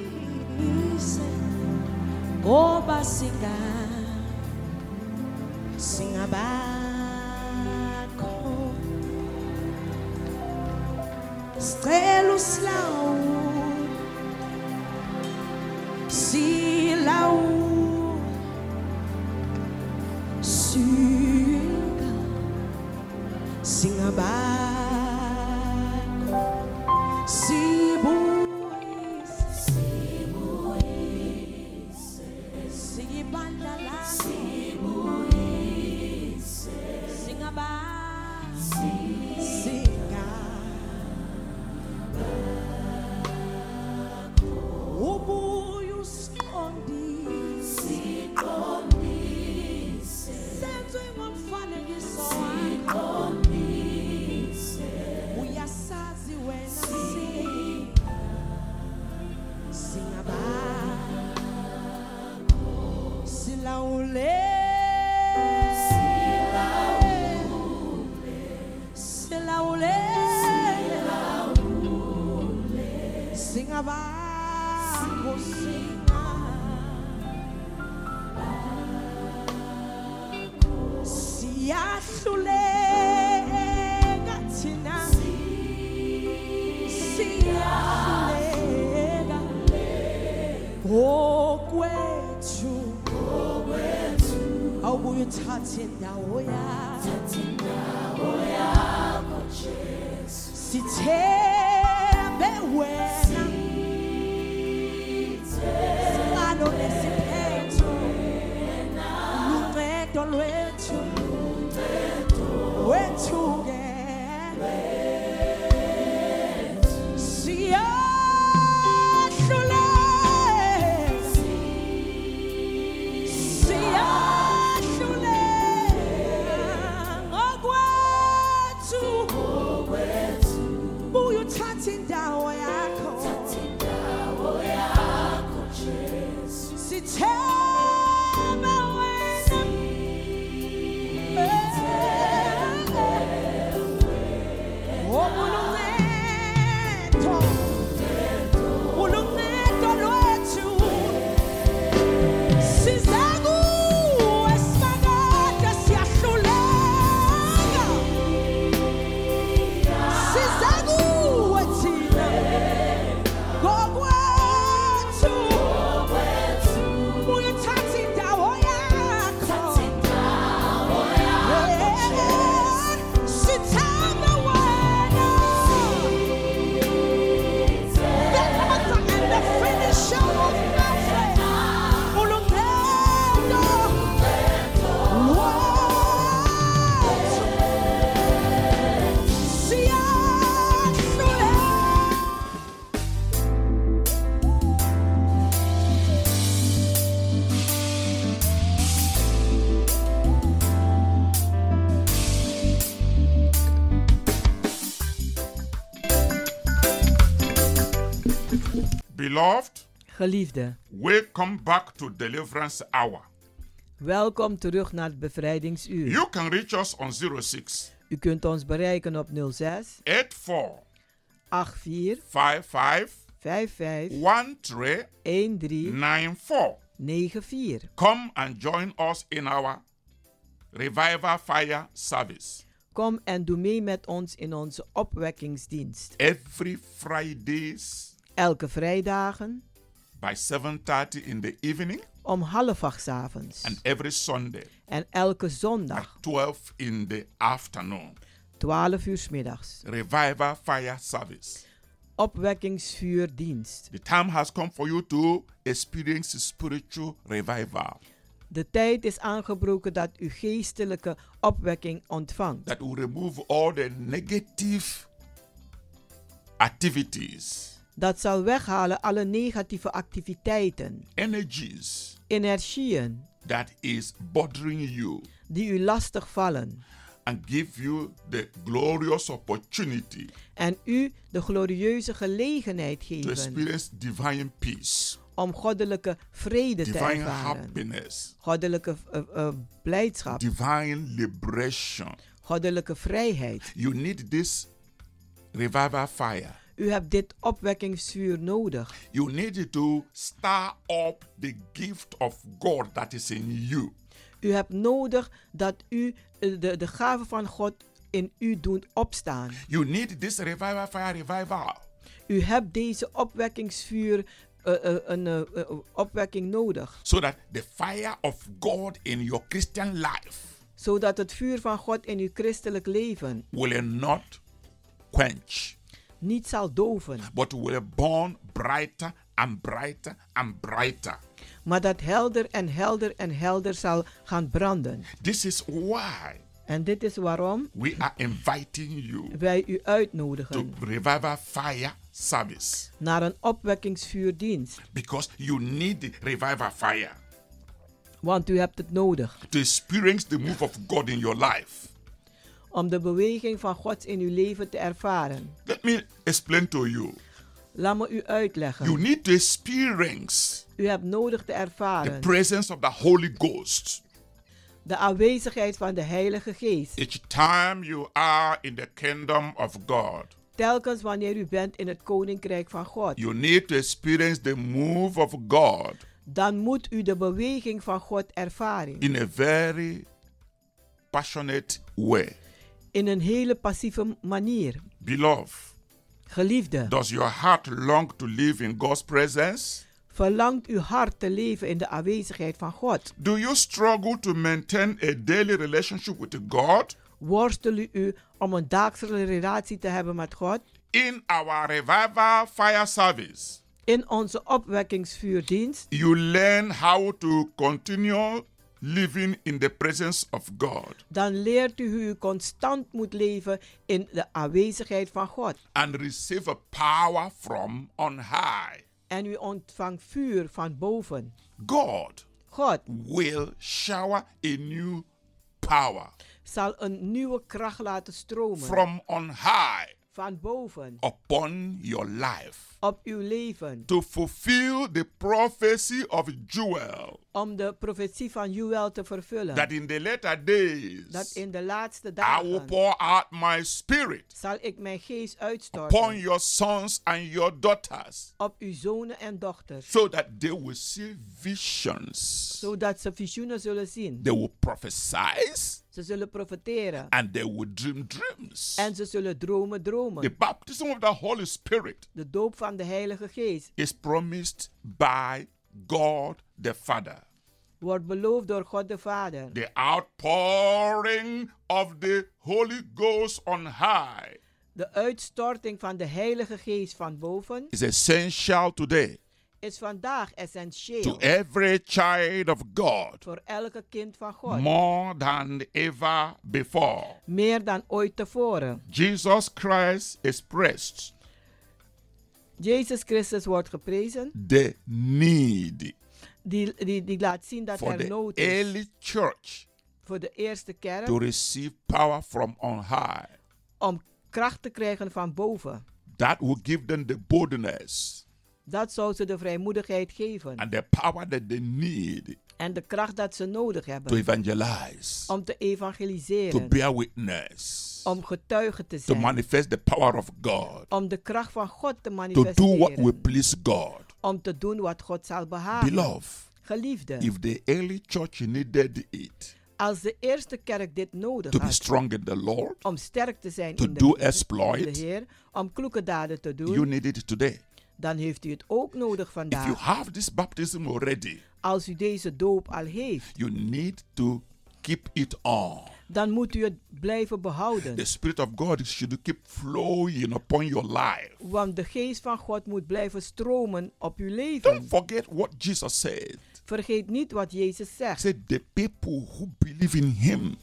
S7: siqondise ngoba singa singabakho sicela usilawu silawu singa singabakho sibuyise Singibandla la sibuyise singaba singa ubuye usiqondise senze ngomfanekiso wakho uyasazi wena singa singaba silawule silawule singabakho singa siyahluleka thina siyahluleka Oh, okwethu awubuye uthathe indawo yakho sithembe wena siqalo nesiphetho luncedo lwethu wethu ke siyahluleka Uthathe indawo yakho sithembe wena obuluncedo uluncedo lwethu Sizakuwe sibakade siyahluleka. Sizakuwe thina ngokwethu. Uye uthathe indawo yakho. Sithembe wena. The author and the finisher of my faith. Ulungendo. Wow. Siyahluleka.
S6: Beloved,
S8: Geliefde,
S6: welcome back to Deliverance Hour.
S8: welkom terug naar het bevrijdingsuur.
S6: You can reach us on 06
S8: U kunt ons bereiken op 06
S6: 84
S8: 84
S6: 55
S8: 55
S6: 1394.
S8: 13 94.
S6: Come and join us in our Revival Fire service
S8: Kom en doe mee met ons in onze opwekkingsdienst.
S6: every Fridays
S8: Elke vrijdagen
S6: by 7:30 in the evening
S8: om half acht 's avonds.
S6: and every Sunday
S8: En elke
S6: at
S8: zondag
S6: 12 in the afternoon.
S7: 12 uur 's middags.
S6: Revival Fire Service.
S7: Opwekkingsvuurdienst.
S6: The time has come for you to experience spiritual revival
S7: De tijd is aangebroken dat u geestelijke opwekking ontvangt.
S6: that will remove all the negative activities,
S7: Dat zal weghalen alle negatieve activiteiten,
S6: energies
S7: energieën
S6: that is bothering you
S7: die u lastig vallen
S6: and give you the glorious opportunity
S7: en u de glorieuze gelegenheid
S6: to
S7: geven
S6: experience divine peace,
S7: om goddelijke vrede te
S6: divine
S7: ervaren,
S6: happiness,
S7: goddelijke eh, eh, blijdschap,
S6: divine liberation.
S7: goddelijke vrijheid.
S6: You need this revival fire.
S7: U hebt dit opwekkingsvuur nodig.
S6: You need to stir up the gift of God that is in you.
S7: U hebt nodig dat u eh, de, de gave van God in u doet opstaan.
S6: You need this revival fire revival.
S7: U hebt deze opwekkingsvuur, eh, eh, een eh, eh, opwekking nodig.
S6: so that the fire of God in your Christian life
S7: Zodat het vuur van God in uw christelijk leven
S6: will not quench,
S7: niet zal doven,
S6: but will burn brighter and brighter and brighter.
S7: maar dat helder en helder en helder zal gaan branden.
S6: This is why
S7: En dit is waarom
S6: we are inviting you
S7: wij u
S6: to
S7: uitnodigen
S6: Revival Fire Service
S7: naar een opwekkingsvuurdienst,
S6: because you need the Revival Fire
S7: want u hebt het nodig
S6: to experience the move of God in your life.
S7: om de beweging van God in uw leven te ervaren.
S6: Let me explain to you.
S7: Laat me u
S6: You
S7: uitleggen.
S6: need to experience
S7: U hebt nodig te
S6: the
S7: ervaren
S6: presence of the Holy Ghost
S7: de aanwezigheid van de Heilige Geest.
S6: each time you are in the kingdom of God.
S7: Telkens wanneer u bent in het koninkrijk van God,
S6: You need to experience the move of God
S7: dan moet u de beweging van God ervaren.
S6: in a very passionate way.
S7: In een hele passieve manier.
S6: Beloved,
S7: Geliefde,
S6: does your heart long to live in God's presence?
S7: verlangt uw hart te leven in de aanwezigheid van God?
S6: Do you struggle to maintain a daily relationship with God?
S7: Worstel u u om een dagelijkse relatie te hebben met God?
S6: In our revival fire service,
S7: In onze opwekkingsvuurdienst
S6: you learn how to continue living in the presence of God
S7: dan leert u hoe u constant moet leven in de aanwezigheid van God.
S6: and receive a power from on high.
S7: En u ontvangt vuur van boven.
S6: God
S7: God
S6: will shower a new power
S7: zal een nieuwe kracht laten stromen
S6: from on high
S7: van boven
S6: upon your life
S7: op uw leven
S6: to fulfill the prophecy of Joel
S7: om de profetie van Joel te vervullen.
S6: that in the later days
S7: dat in de laatste
S6: I will
S7: dagen
S6: pour out my spirit
S7: zal ik mijn geest
S6: upon
S7: uitstorten
S6: your sons and your daughters
S7: op uw zonen en dochters,
S6: so that they will see visions
S7: zodat ze visioenen zullen zien.
S6: they will prophesy
S7: Ze zullen profeteren
S6: and they will dream dreams
S7: en ze zullen dromen
S6: the
S7: dromen.
S6: baptism of the Holy Spirit
S7: De doop van de Heilige Geest
S6: is promised by God the Father.
S7: wordt beloofd door God de Vader.
S6: The outpouring of the Holy Ghost on high
S7: De uitstorting van de Heilige Geest van boven
S6: is essential today
S7: is vandaag essentieel
S6: to every child of God
S7: voor elke kind van God.
S6: more than ever before.
S7: Meer dan ooit tevoren.
S6: Jesus Christ expressed
S7: Jezus Christus wordt geprezen.
S6: the need
S7: Die, die, die laat zien dat
S6: for
S7: er
S6: the
S7: nood is
S6: early church
S7: voor de eerste kerk
S6: to receive power from on high.
S7: om kracht te krijgen van boven.
S6: That will give them the boldness
S7: Dat zou ze de vrijmoedigheid geven
S6: and the power that they need
S7: en de kracht dat ze nodig
S6: to
S7: hebben
S6: evangelize,
S7: om te
S6: to
S7: evangeliseren,
S6: bear witness,
S7: om getuige te
S6: to
S7: zijn,
S6: manifest the power of God,
S7: om de kracht van God te
S6: to do what will
S7: manifesteren,
S6: please God.
S7: om te doen wat God zal behagen.
S6: Beloved,
S7: Geliefde,
S6: if the early church needed it
S7: als de eerste kerk dit nodig
S6: to be
S7: had
S6: strong in the Lord,
S7: om sterk te zijn
S6: to
S7: in de,
S6: do
S7: Heer-
S6: exploit,
S7: in de Heer, om kloeke daden te
S6: you
S7: doen,
S6: need it today.
S7: dan heeft u het ook nodig
S6: If you
S7: vandaag.
S6: have this baptism already,
S7: Als u deze doop al heeft,
S6: you need to keep it on.
S7: dan moet u het blijven behouden.
S6: The Spirit of God should keep flowing upon your life.
S7: Want de geest van God moet blijven stromen op uw leven.
S6: Don't forget what Jesus said.
S7: Vergeet niet wat Jezus
S6: He
S7: zegt.
S6: said, The people who believe in Him,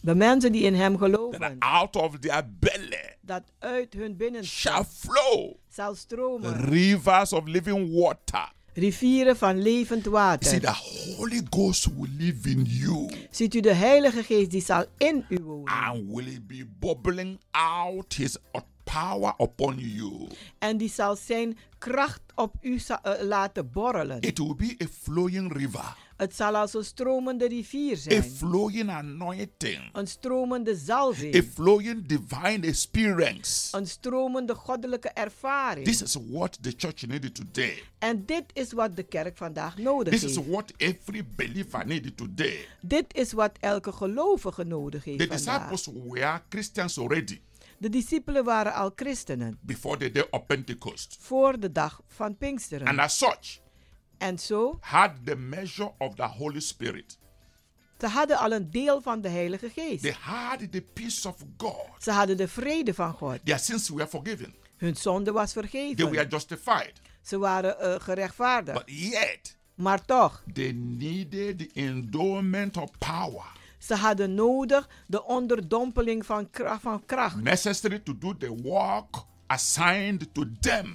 S7: De mensen die in Hem
S6: that
S7: geloven,
S6: out of their belly
S7: dat uit hun binnen
S6: shall flow
S7: zal stromen
S6: rivers of living water.
S7: rivieren van levend
S6: You see, the
S7: water.
S6: Holy Ghost will live in you
S7: Ziet u de Heilige Geest die zal in u wonen.
S6: and will be bubbling out His power upon you.
S7: En die zal zijn kracht op u za- eh, laten borrelen.
S6: It will be a flowing river,
S7: Het zal als een stromende rivier
S6: a
S7: zijn.
S6: flowing anointing,
S7: Een stromende
S6: a
S7: zalving.
S6: flowing divine experience.
S7: Een stromende goddelijke ervaring.
S6: This is what the church needed today.
S7: En dit is wat de kerk vandaag nodig
S6: This is
S7: heeft.
S6: what every believer needed today.
S7: Dit is wat elke gelovige nodig heeft
S6: The
S7: vandaag.
S6: disciples were Christians already
S7: De discipelen waren al christenen
S6: before the day of Pentecost,
S7: voor de dag van
S6: and
S7: Pinksteren.
S6: as such,
S7: En zo,
S6: had the measure of the Holy Spirit.
S7: ze hadden al een deel van de Heilige
S6: They
S7: Geest.
S6: had the peace of God.
S7: Ze hadden de vrede van God.
S6: Their sins were forgiven.
S7: Hun zonde was
S6: They were
S7: vergeven.
S6: justified.
S7: Ze waren eh, gerechtvaardigd.
S6: But yet,
S7: Maar toch,
S6: they needed the endowment of power
S7: ze hadden nodig de onderdompeling van kracht, van kracht
S6: necessary to do the work assigned to them.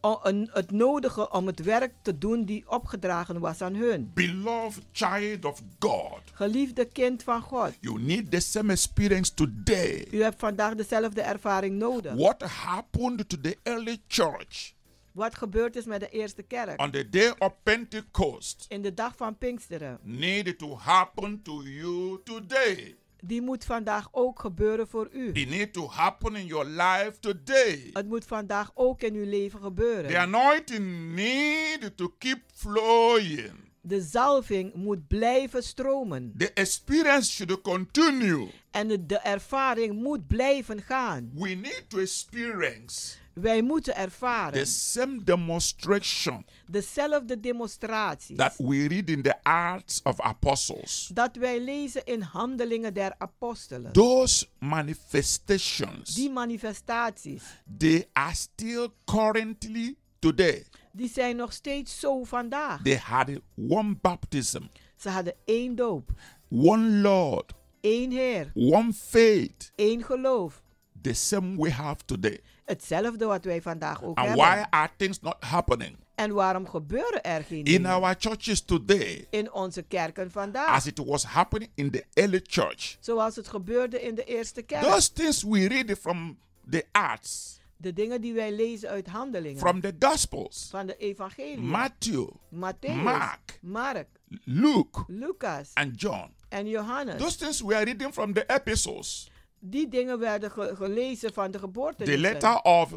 S7: O- een- het nodige om het werk te doen die opgedragen was aan hun.
S6: Beloved child of God,
S7: Geliefde kind van God,
S6: you need the same experience today.
S7: u hebt vandaag dezelfde ervaring nodig.
S6: What happened to the early church
S7: Wat gebeurd is met de eerste kerk
S6: on the day of Pentecost
S7: in de dag van Pinksteren,
S6: needed to happen to you today.
S7: die moet vandaag ook gebeuren voor u.
S6: It need to happen in your life today.
S7: Het moet vandaag ook in uw leven
S6: The
S7: gebeuren.
S6: anointing need to keep flowing.
S7: De zalving moet blijven stromen
S6: The experience should continue.
S7: en de- de ervaring moet blijven gaan.
S6: We need to experience
S7: Wij moeten ervaren
S6: the same demonstration
S7: dezelfde demonstratie
S6: that we read in the Acts of Apostles.
S7: dat wij lezen in Handelingen der Apostelen.
S6: Those manifestations,
S7: Die manifestaties,
S6: they are still currently today.
S7: die zijn nog steeds zo vandaag.
S6: They had one baptism,
S7: Ze hadden één doop,
S6: one Lord,
S7: één Heer,
S6: one faith,
S7: één geloof.
S6: the same we have today.
S7: Hetzelfde wat wij vandaag ook
S6: And
S7: hebben.
S6: why are things not happening
S7: En waarom gebeuren er geen
S6: in
S7: dingen
S6: our churches today
S7: in onze kerken vandaag?
S6: as it was happening in the early church?
S7: Zoals het gebeurde in de eerste kerk.
S6: Those things we read from the Acts,
S7: de dingen die wij lezen uit handelingen.
S6: from the Gospels,
S7: van de evangelie.
S6: Matthew,
S7: Matthäus,
S6: Mark.
S7: Mark,
S6: Luke,
S7: Lucas
S6: and John.
S7: en Johannes.
S6: Those things we are reading from the epistles,
S7: die dingen werden ge- gelezen van de geboorte.
S6: the letter of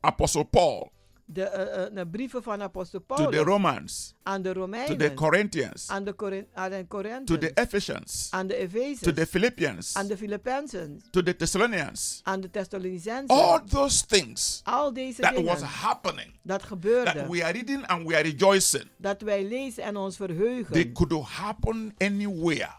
S6: Apostle Paul
S7: de eh, eh, de brieven van apostel
S6: to
S7: Paulus
S6: Oh, the Romans,
S7: aan de
S6: to
S7: Romeinen,
S6: the Corinthians,
S7: aan de Corin- aan de
S6: to
S7: Corinthians,
S6: the Ephesians,
S7: aan de
S6: to
S7: Efezes,
S6: the Philippians,
S7: aan de Filippenzen,
S6: to the Thessalonians.
S7: aan de Thessalonicenzen.
S6: All those things
S7: Al deze
S6: Oh, that
S7: dingen,
S6: was happening
S7: dat gebeurde,
S6: that we are reading and we are rejoicing.
S7: dat wij lezen en ons verheugen,
S6: They could happen anywhere.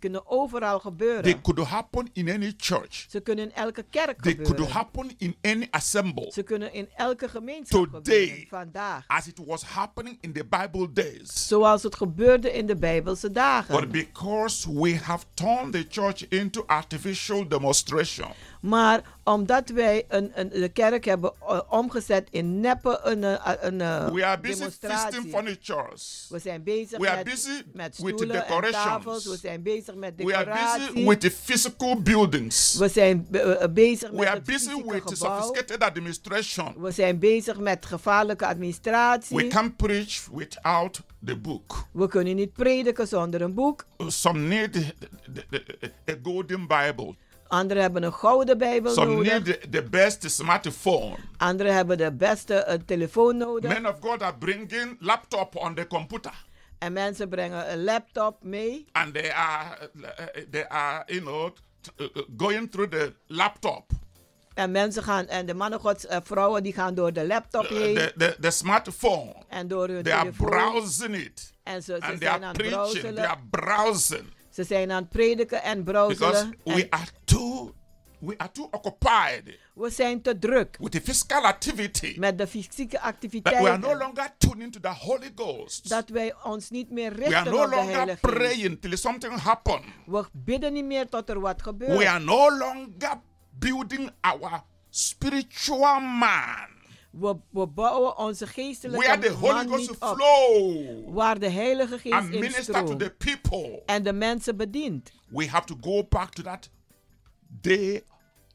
S7: kunnen overal gebeuren.
S6: They could happen in any church.
S7: Ze kunnen in elke kerk
S6: They could
S7: gebeuren.
S6: happen in any assemble.
S7: Ze kunnen in elke gemeenschap
S6: Today.
S7: gebeuren, vandaag.
S6: As it was happening in the Bible days.
S7: Zoals het gebeurde in de Bijbelse
S6: But
S7: dagen.
S6: because we have turned the church into artificial demonstration,
S7: Maar omdat wij een, een, de kerk hebben eh, omgezet in neppe een, eh, een, eh,
S6: we are busy feasting
S7: demonstratie.
S6: furnitures.
S7: We zijn bezig
S6: We are
S7: met,
S6: busy
S7: met
S6: with the
S7: stoelen en
S6: decorations.
S7: tafels. We zijn bezig met
S6: We are
S7: decoratie.
S6: busy with the physical buildings.
S7: we zijn be- eh, eh, bezig
S6: We
S7: met
S6: are
S7: het
S6: busy
S7: fysieke
S6: with the
S7: gebouw.
S6: sophisticated administration.
S7: We zijn bezig met gevaarlijke administratie.
S6: We can't preach without the book.
S7: We kunnen niet prediken zonder een boek.
S6: Some need the- the- the- a golden Bible.
S7: Anderen hebben een gouden Bijbel
S6: Some
S7: nodig.
S6: need the, the best smartphone.
S7: Anderen hebben de beste eh, telefoon nodig.
S6: Men of God are bringing laptop on the computer,
S7: En mensen brengen een laptop mee.
S6: and they are uh, they are you know t- uh, uh, going through the laptop,
S7: En mensen gaan, en de mannen gods, eh, vrouwen die gaan door de laptop
S6: uh,
S7: heen.
S6: the, the the smartphone.
S7: en door hun
S6: They are
S7: telefoon.
S6: browsing it,
S7: en ze, ze
S6: and they
S7: zijn aan
S6: are
S7: het
S6: preaching. They
S7: browselen.
S6: are browsing.
S7: Ze zijn aan het prediken en
S6: Because
S7: browselen.
S6: we are too we are too occupied
S7: We zijn te druk
S6: with the physical activity
S7: met de fysieke
S6: that we are
S7: activiteiten.
S6: no longer tuning to the Holy Ghost.
S7: dat wij ons niet meer
S6: We are
S7: richten
S6: no
S7: op de
S6: longer
S7: Heilige Geest.
S6: praying till something happens.
S7: We bidden niet meer tot er wat gebeurt.
S6: We are no longer building our spiritual man
S7: we, we bouwen onze geestelijke
S6: where the Holy
S7: man
S6: Ghost
S7: niet op.
S6: flow
S7: Waar de Heilige Geest
S6: and
S7: in
S6: minister to the
S7: stroomt.
S6: people.
S7: En de mensen bedient.
S6: We have to go back to that day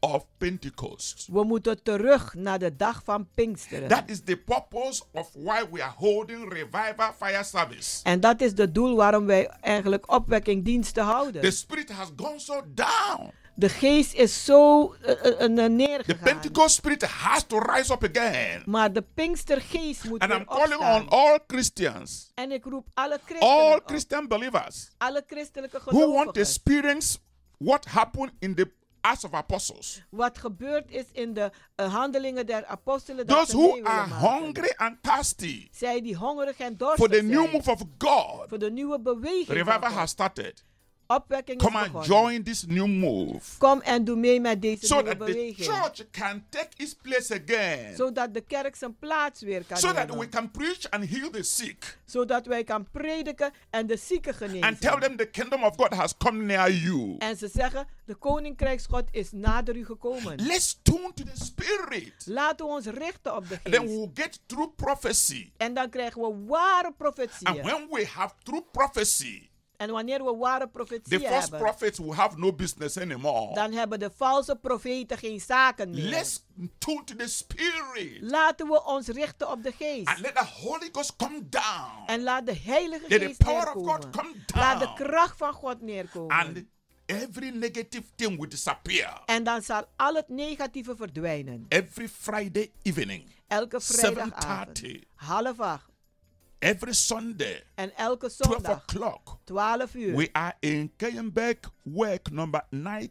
S6: of Pentecost.
S7: We moeten terug naar de dag van Pinksteren.
S6: That is the purpose of why we are holding revival fire service.
S7: en dat is het doel waarom wij eigenlijk opwekkingdiensten houden.
S6: The spirit has gone so down.
S7: de geest is zo eh, eh, eh,
S6: The
S7: neergegaan.
S6: Pentecost spirit has to rise up again.
S7: maar de Pinkstergeest moet
S6: And
S7: weer
S6: I'm calling
S7: opstaan.
S6: on all Christians,
S7: en ik roep alle christenen
S6: all
S7: op,
S6: Christian believers
S7: alle christelijke
S6: who want to
S7: gelovigen.
S6: experience what happened in the Acts of Apostles.
S7: wat gebeurd is in de eh, handelingen der apostelen. Dat
S6: Those
S7: ze mee
S6: who
S7: willen
S6: are
S7: maken.
S6: hungry and thirsty
S7: Zij die hongerig en dorstig
S6: for the new
S7: zijn.
S6: move of God.
S7: voor de nieuwe beweging. van
S6: Revival
S7: God.
S6: has started.
S7: Opwekking is
S6: Come and
S7: begonnen.
S6: join this new move.
S7: Kom en doe mee met deze
S6: so
S7: nieuwe
S6: that the
S7: beweging.
S6: church can take its place again. So,
S7: Zodat de kerk zijn plaats weer kan
S6: that
S7: nemen.
S6: we can preach and heal the sick
S7: Zodat wij kan prediken en de zieken genezen.
S6: and tell them the kingdom of God has come near you.
S7: En ze zeggen, de koninkrijksgod is nader u gekomen.
S6: Let's tune to the spirit.
S7: Laten we ons richten op de
S6: And then
S7: geest.
S6: we'll get true prophecy.
S7: En dan krijgen we ware
S6: And
S7: profetieën.
S6: when we have true prophecy,
S7: En wanneer we ware
S6: the
S7: profetieën
S6: false
S7: hebben,
S6: prophets will have no business anymore.
S7: dan hebben de valse profeten geen zaken meer.
S6: Let's tune to the spirit.
S7: Laten we ons richten op de geest.
S6: And let the Holy Ghost come down.
S7: En laat de Heilige
S6: Let the
S7: Geest
S6: power of God
S7: neerkomen.
S6: come down.
S7: Laat de kracht van God neerkomen.
S6: And every negative thing will disappear.
S7: en dan zal al het negatieve verdwijnen.
S6: Every Friday evening,
S7: Elke vrijdagavond,
S6: 7:30.
S7: half acht
S6: every Sunday,
S7: en elke
S6: 12
S7: zondag,
S6: o'clock,
S7: 12 uur.
S6: we are in Kayenbeck work number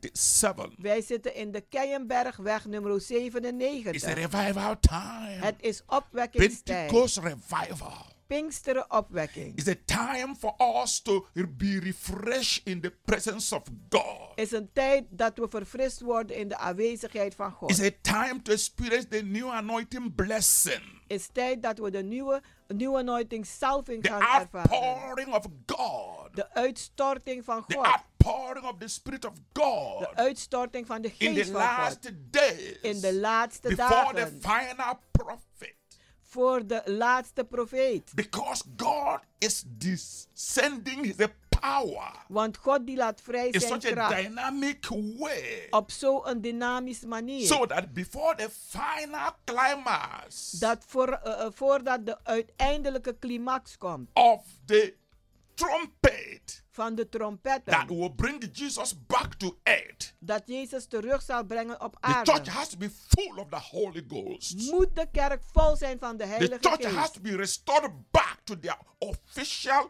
S6: 97.
S7: Wij zitten in de Keienbergweg nummer
S6: It's a
S7: 97.
S6: revival time.
S7: Het is opwekkingstijd.
S6: Pentecost revival.
S7: Pinksteren opwekking.
S6: It's a time for us to be refreshed in the presence of God.
S7: Is een tijd dat we verfrist worden in de aanwezigheid van
S6: It's
S7: God.
S6: a time to experience the new anointing blessing,
S7: Is tijd dat we de nieuwe, nieuwe anointing salving
S6: the
S7: gaan ervaren.
S6: outpouring of God,
S7: De uitstorting van
S6: the
S7: God.
S6: outpouring of the Spirit of God
S7: De uitstorting van de
S6: in the
S7: geest van God.
S6: last days.
S7: In de laatste
S6: before the
S7: dagen.
S6: final prophet
S7: Voor de laatste profeet.
S6: because God is descending his power
S7: Want God die laat vrij
S6: in
S7: zijn
S6: such a
S7: kracht.
S6: dynamic way
S7: Op zo'n dynamische manier.
S6: so that before the final climax
S7: dat voor, eh, eh, voordat de uiteindelijke climax komt
S6: of the trumpet
S7: van de
S6: that
S7: trompetten.
S6: will bring Jesus back to earth
S7: Dat Jezus terug zal brengen op
S6: the church
S7: aarde.
S6: has to be full of the Holy Ghost
S7: Moet de kerk vol zijn van de
S6: the
S7: Heilige
S6: church has
S7: Geest.
S6: to be restored back to their official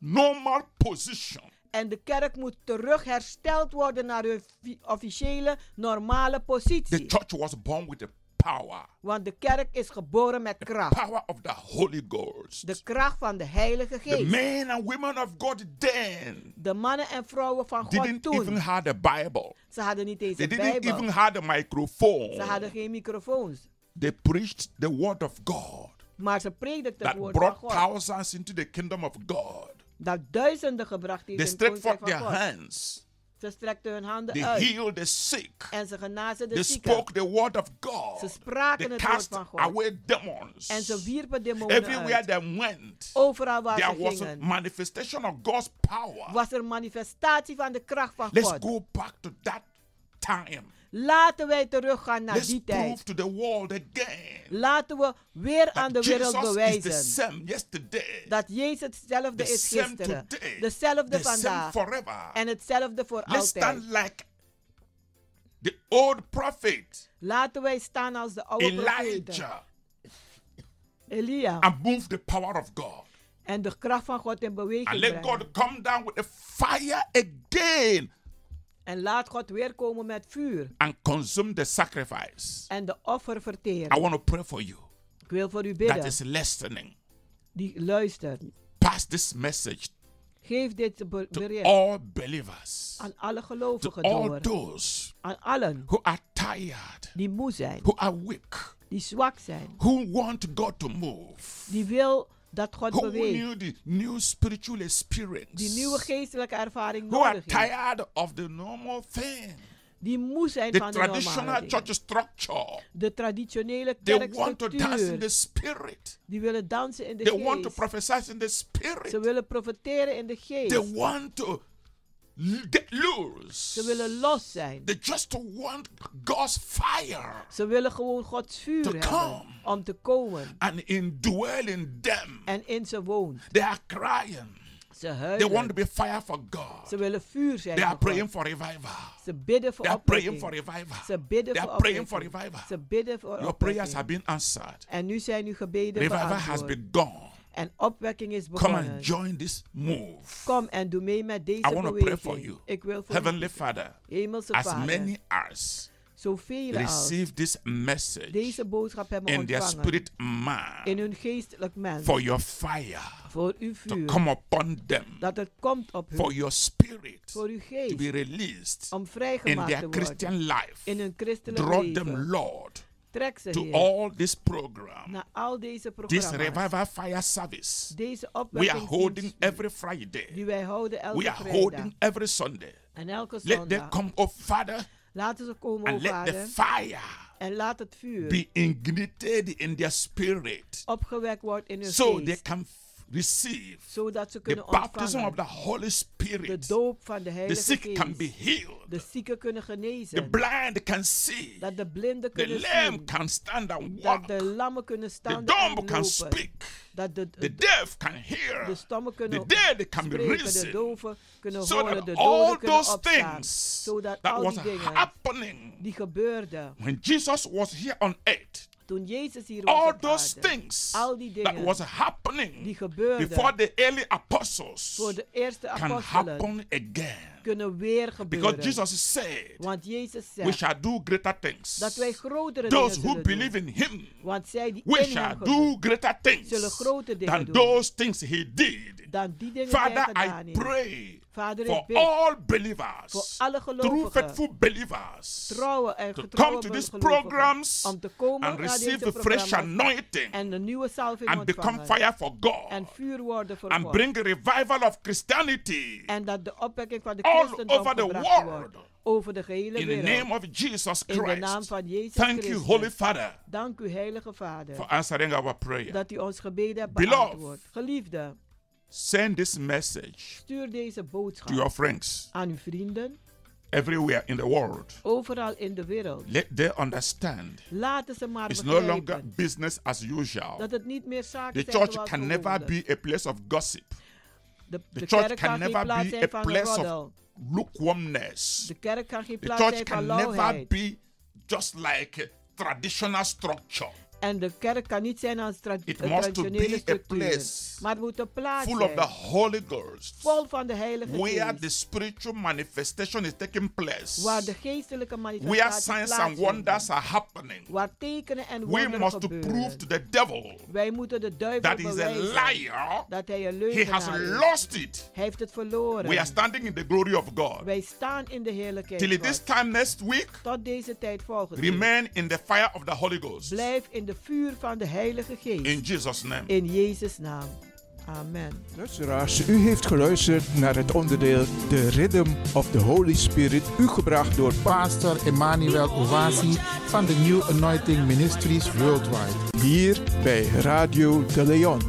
S6: normal position
S7: En de kerk moet terug hersteld worden naar hun fi- officiële, normale
S6: the
S7: positie.
S6: church was born with the power
S7: Want de kerk is geboren met kracht.
S6: power of the Holy Ghost.
S7: De kracht van de Heilige
S6: The
S7: Geest.
S6: men and women of God then
S7: De mannen en vrouwen van God
S6: didn't even
S7: toen.
S6: have a Bible.
S7: Ze hadden niet eens
S6: They
S7: een
S6: didn't
S7: Bijbel.
S6: even have a
S7: Ze hadden
S6: microphone.
S7: geen microfoons.
S6: They preached the word of God
S7: Maar ze predikten het
S6: that
S7: woord van
S6: brought
S7: God.
S6: thousands into the kingdom of God.
S7: Dat duizenden gebracht heeft
S6: They
S7: in het
S6: stretched
S7: koninkrijk
S6: forth their
S7: van God.
S6: hands.
S7: Ze strekten hun handen
S6: They
S7: uit.
S6: healed the sick.
S7: En ze genazen de
S6: They
S7: zieken.
S6: spoke the word of God.
S7: Ze spraken
S6: They
S7: het woord
S6: cast
S7: van God.
S6: away demons.
S7: En ze wierpen demonen
S6: Everywhere
S7: uit.
S6: they went,
S7: Overal waar
S6: there
S7: ze
S6: was a
S7: gingen,
S6: manifestation of God's power.
S7: was er manifestatie van de kracht van
S6: Let's
S7: God.
S6: go back to that time.
S7: Laten wij teruggaan naar
S6: Let's
S7: die
S6: prove
S7: tijd.
S6: to the world again
S7: Laten we weer aan de
S6: that
S7: wereld
S6: Jesus is the
S7: bewijzen
S6: same yesterday,
S7: dat Jezus hetzelfde
S6: the
S7: is
S6: same
S7: gisteren,
S6: today,
S7: dezelfde
S6: the same
S7: vandaag
S6: forever.
S7: en hetzelfde voor
S6: Let's
S7: altijd.
S6: stand like the old prophet
S7: Laten wij staan als de oude profeten,
S6: Elijah
S7: Elia,
S6: and move the power of God.
S7: en de kracht van God in beweging
S6: And let
S7: brengen.
S6: God come down with the fire again
S7: En laat God weer komen met vuur
S6: and consume the sacrifice.
S7: en de offer
S6: I
S7: verteren.
S6: want to pray for you
S7: Ik wil voor u
S6: that
S7: bidden,
S6: is listening.
S7: die luistert.
S6: Pass this message
S7: Geef dit be-
S6: to
S7: bericht
S6: all believers,
S7: aan alle
S6: to
S7: gelovigen
S6: all
S7: door.
S6: those
S7: Aan allen
S6: who are tired,
S7: die moe zijn,
S6: who are weak,
S7: die zwak zijn,
S6: who want God to move,
S7: die wil dat God
S6: who
S7: beweegt,
S6: need the new spiritual
S7: die nieuwe
S6: experience,
S7: geestelijke ervaring
S6: who are
S7: nodig heeft,
S6: tired of the normal thing,
S7: die moe zijn
S6: the
S7: van de normale
S6: traditional
S7: dingen.
S6: church structure.
S7: De traditionele
S6: They want to dance in the
S7: kerkstructuur,
S6: spirit.
S7: die willen dansen in de
S6: They want to
S7: geest.
S6: prophesy in the spirit.
S7: Ze willen profiteren in de
S6: They
S7: geest.
S6: want to l- get loose.
S7: Ze willen los zijn.
S6: They just want God's fire
S7: Ze willen gewoon Gods vuur
S6: To
S7: hebben
S6: come.
S7: om te komen
S6: and indwell in them.
S7: en in ze woont.
S6: They are crying.
S7: Ze
S6: They want to
S7: huilen.
S6: be fire for God.
S7: Ze willen vuur zijn.
S6: They
S7: voor
S6: are
S7: God.
S6: praying for revival.
S7: Ze bidden voor
S6: They are praying for
S7: opwekking.
S6: revival.
S7: Ze bidden
S6: They
S7: voor
S6: are praying for
S7: opwekking.
S6: revival.
S7: Ze bidden voor
S6: Your prayers have
S7: opwekking.
S6: been answered.
S7: En nu zijn uw gebeden
S6: Revival has
S7: beantwoord.
S6: begun.
S7: En opwekking is
S6: Come and
S7: begonnen.
S6: join this move.
S7: Kom en doe mee met
S6: I
S7: deze
S6: want to pray for
S7: beweging.
S6: you.
S7: Ik wil voor
S6: Heavenly
S7: u,
S6: Father,
S7: Hemelse
S6: as
S7: Vader,
S6: many as
S7: zoveel als
S6: receive this message
S7: deze boodschap hebben
S6: in their
S7: ontvangen,
S6: spirit man
S7: in hun geestelijk mens,
S6: for your fire
S7: voor uw
S6: to
S7: vuur,
S6: come upon them
S7: dat het komt op
S6: for
S7: hun,
S6: your spirit
S7: voor uw
S6: to
S7: geest,
S6: be released
S7: om
S6: in
S7: vrijgemaakt
S6: their
S7: te worden
S6: Christian life.
S7: in hun christelijk
S6: Draw
S7: leven.
S6: them, Lord,
S7: Trek ze,
S6: to
S7: Heer,
S6: all this program,
S7: naar al deze
S6: this
S7: programma's,
S6: revival fire service.
S7: deze
S6: We are holding
S7: opwekking
S6: every Friday.
S7: die wij houden
S6: We
S7: elke
S6: are
S7: vrijdag
S6: holding every Sunday.
S7: en elke
S6: Let them
S7: zondag.
S6: come, oh Father,
S7: Laten ze komen, o
S6: and let
S7: Vader,
S6: the fire
S7: en laat het vuur
S6: be ignited in their spirit
S7: opgewekt wordt in hun
S6: so they
S7: geest,
S6: can f- receive
S7: zodat ze
S6: the
S7: kunnen
S6: baptism of the
S7: ontvangen
S6: Holy
S7: de
S6: Spirit.
S7: doop van de
S6: The
S7: Heilige
S6: sick can be
S7: Geest.
S6: healed.
S7: De zieken kunnen
S6: The
S7: genezen,
S6: blind can see.
S7: dat de blinden
S6: The
S7: kunnen
S6: lame
S7: zien,
S6: can stand and
S7: dat
S6: walk.
S7: de lammen kunnen
S6: The
S7: staan en
S6: dumb can
S7: lopen,
S6: speak.
S7: dat de,
S6: The deaf can hear.
S7: de stommen
S6: The
S7: kunnen
S6: dead can be
S7: spreken, de
S6: risen.
S7: doven kunnen
S6: So
S7: horen,
S6: that
S7: de
S6: all
S7: doden kunnen
S6: those
S7: opstaan.
S6: things
S7: Zodat
S6: that
S7: al
S6: was
S7: die dingen
S6: happening
S7: die gebeurden
S6: when Jesus was here on earth,
S7: toen Jezus hier was
S6: all
S7: op
S6: those
S7: aarde,
S6: things
S7: al die
S6: that
S7: dingen
S6: was
S7: die
S6: happening before
S7: gebeurden
S6: the early apostles
S7: voor de eerste
S6: can
S7: apostelen,
S6: happen again.
S7: kunnen weer
S6: Because
S7: gebeuren.
S6: Jesus said,
S7: Want Jezus
S6: We
S7: zegt
S6: shall do greater things.
S7: dat wij grotere dingen
S6: Those who
S7: zullen
S6: believe
S7: doen.
S6: in him
S7: Want zij die
S6: we
S7: in
S6: shall
S7: hem geloven,
S6: do greater things
S7: zullen grote dingen
S6: than
S7: doen.
S6: those things he did.
S7: dan die dingen die
S6: Father,
S7: hij
S6: I
S7: gedaan heeft.
S6: pray
S7: Vader, ik
S6: for
S7: bid
S6: all
S7: voor
S6: believers,
S7: alle
S6: true
S7: gelovigen,
S6: faithful believers,
S7: trouwe en
S6: to
S7: getrouwe
S6: come to these
S7: gelovigen,
S6: programs
S7: om te komen
S6: and
S7: naar deze
S6: receive the fresh
S7: programma's
S6: anointing
S7: en de nieuwe salving
S6: and become
S7: ontvangen
S6: fire for
S7: en
S6: God
S7: vuur worden voor
S6: and
S7: God.
S6: bring a revival of Christianity
S7: En dat de opwekking van de
S6: All
S7: christendom
S6: over the
S7: gebracht
S6: world.
S7: wordt over de gehele
S6: in the
S7: wereld.
S6: name of Jesus
S7: In de naam
S6: Christ.
S7: van Jezus
S6: Thank you,
S7: Christus.
S6: Holy Father,
S7: Dank u, Heilige Vader,
S6: for answering our prayer.
S7: dat u ons gebeden hebt
S6: Beloved.
S7: beantwoord. Geliefde,
S6: Send this message
S7: stuur deze
S6: to your
S7: boodschap
S6: friends
S7: aan uw vrienden,
S6: everywhere in the world.
S7: overal in de wereld.
S6: Let them understand
S7: Laten ze maar
S6: It's no longer
S7: begrijpen
S6: business as usual.
S7: dat het niet meer
S6: The
S7: zaken zijn
S6: church
S7: zoals
S6: can never
S7: gewoonlijk.
S6: be a place of gossip.
S7: De,
S6: The
S7: de
S6: church
S7: kerk
S6: can
S7: kan geen
S6: never
S7: plaats
S6: be a
S7: zijn van
S6: place of-
S7: roddel.
S6: Lukewarmness.
S7: De kerk kan geen
S6: The
S7: plaats
S6: church
S7: zijn van
S6: can never
S7: lauwheid.
S6: be just like a traditional structure
S7: En de kerk kan niet zijn als tra-
S6: It
S7: een
S6: must be
S7: traditionele
S6: a
S7: structuur.
S6: place
S7: Maar het moet een plaats
S6: full of the
S7: zijn,
S6: Holy Ghost,
S7: vol van de heilige
S6: where
S7: geest,
S6: the spiritual manifestation is taking place,
S7: waar de geestelijke
S6: where
S7: manifestaties
S6: signs and wonders
S7: plaatsvinden,
S6: are happening.
S7: waar tekenen en
S6: We
S7: wonderen
S6: must prove
S7: gebeuren.
S6: to the devil
S7: Wij moeten de duivel
S6: that he's a
S7: bewijzen
S6: liar.
S7: dat hij een
S6: He has
S7: leugenaar is.
S6: lost it.
S7: Hij heeft het verloren.
S6: We are standing in the glory of God.
S7: Wij staan in de heerlijkheid
S6: Till
S7: Gods.
S6: this time next week,
S7: Tot deze tijd volgende week.
S6: Remain in the fire of the Holy Ghost.
S7: Blijf in de vuur van de heilige geest.
S6: In Jesus' name.
S7: In Jezus' naam. Amen.
S9: Luisteraars, u heeft geluisterd naar het onderdeel The Rhythm of the Holy Spirit, u gebracht door
S3: Pastor Emmanuel Owasi van de New Anointing Ministries Worldwide.
S9: hier bij Radio de Leon.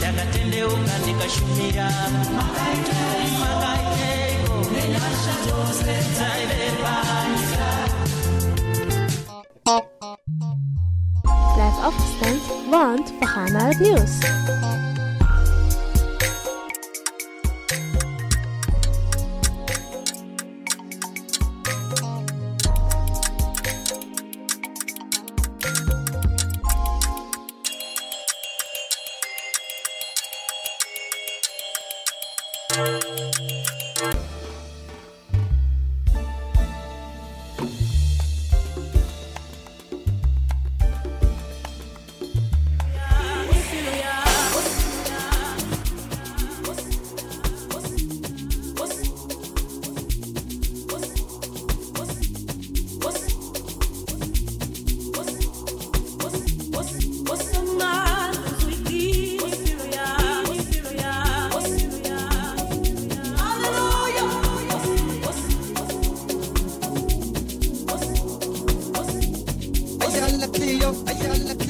S10: ndakatendeuka ndikashumira makaiteiko
S11: Blijf afgestemd, want we gaan naar het nieuws.
S7: Ayala, tío, ayala, tío.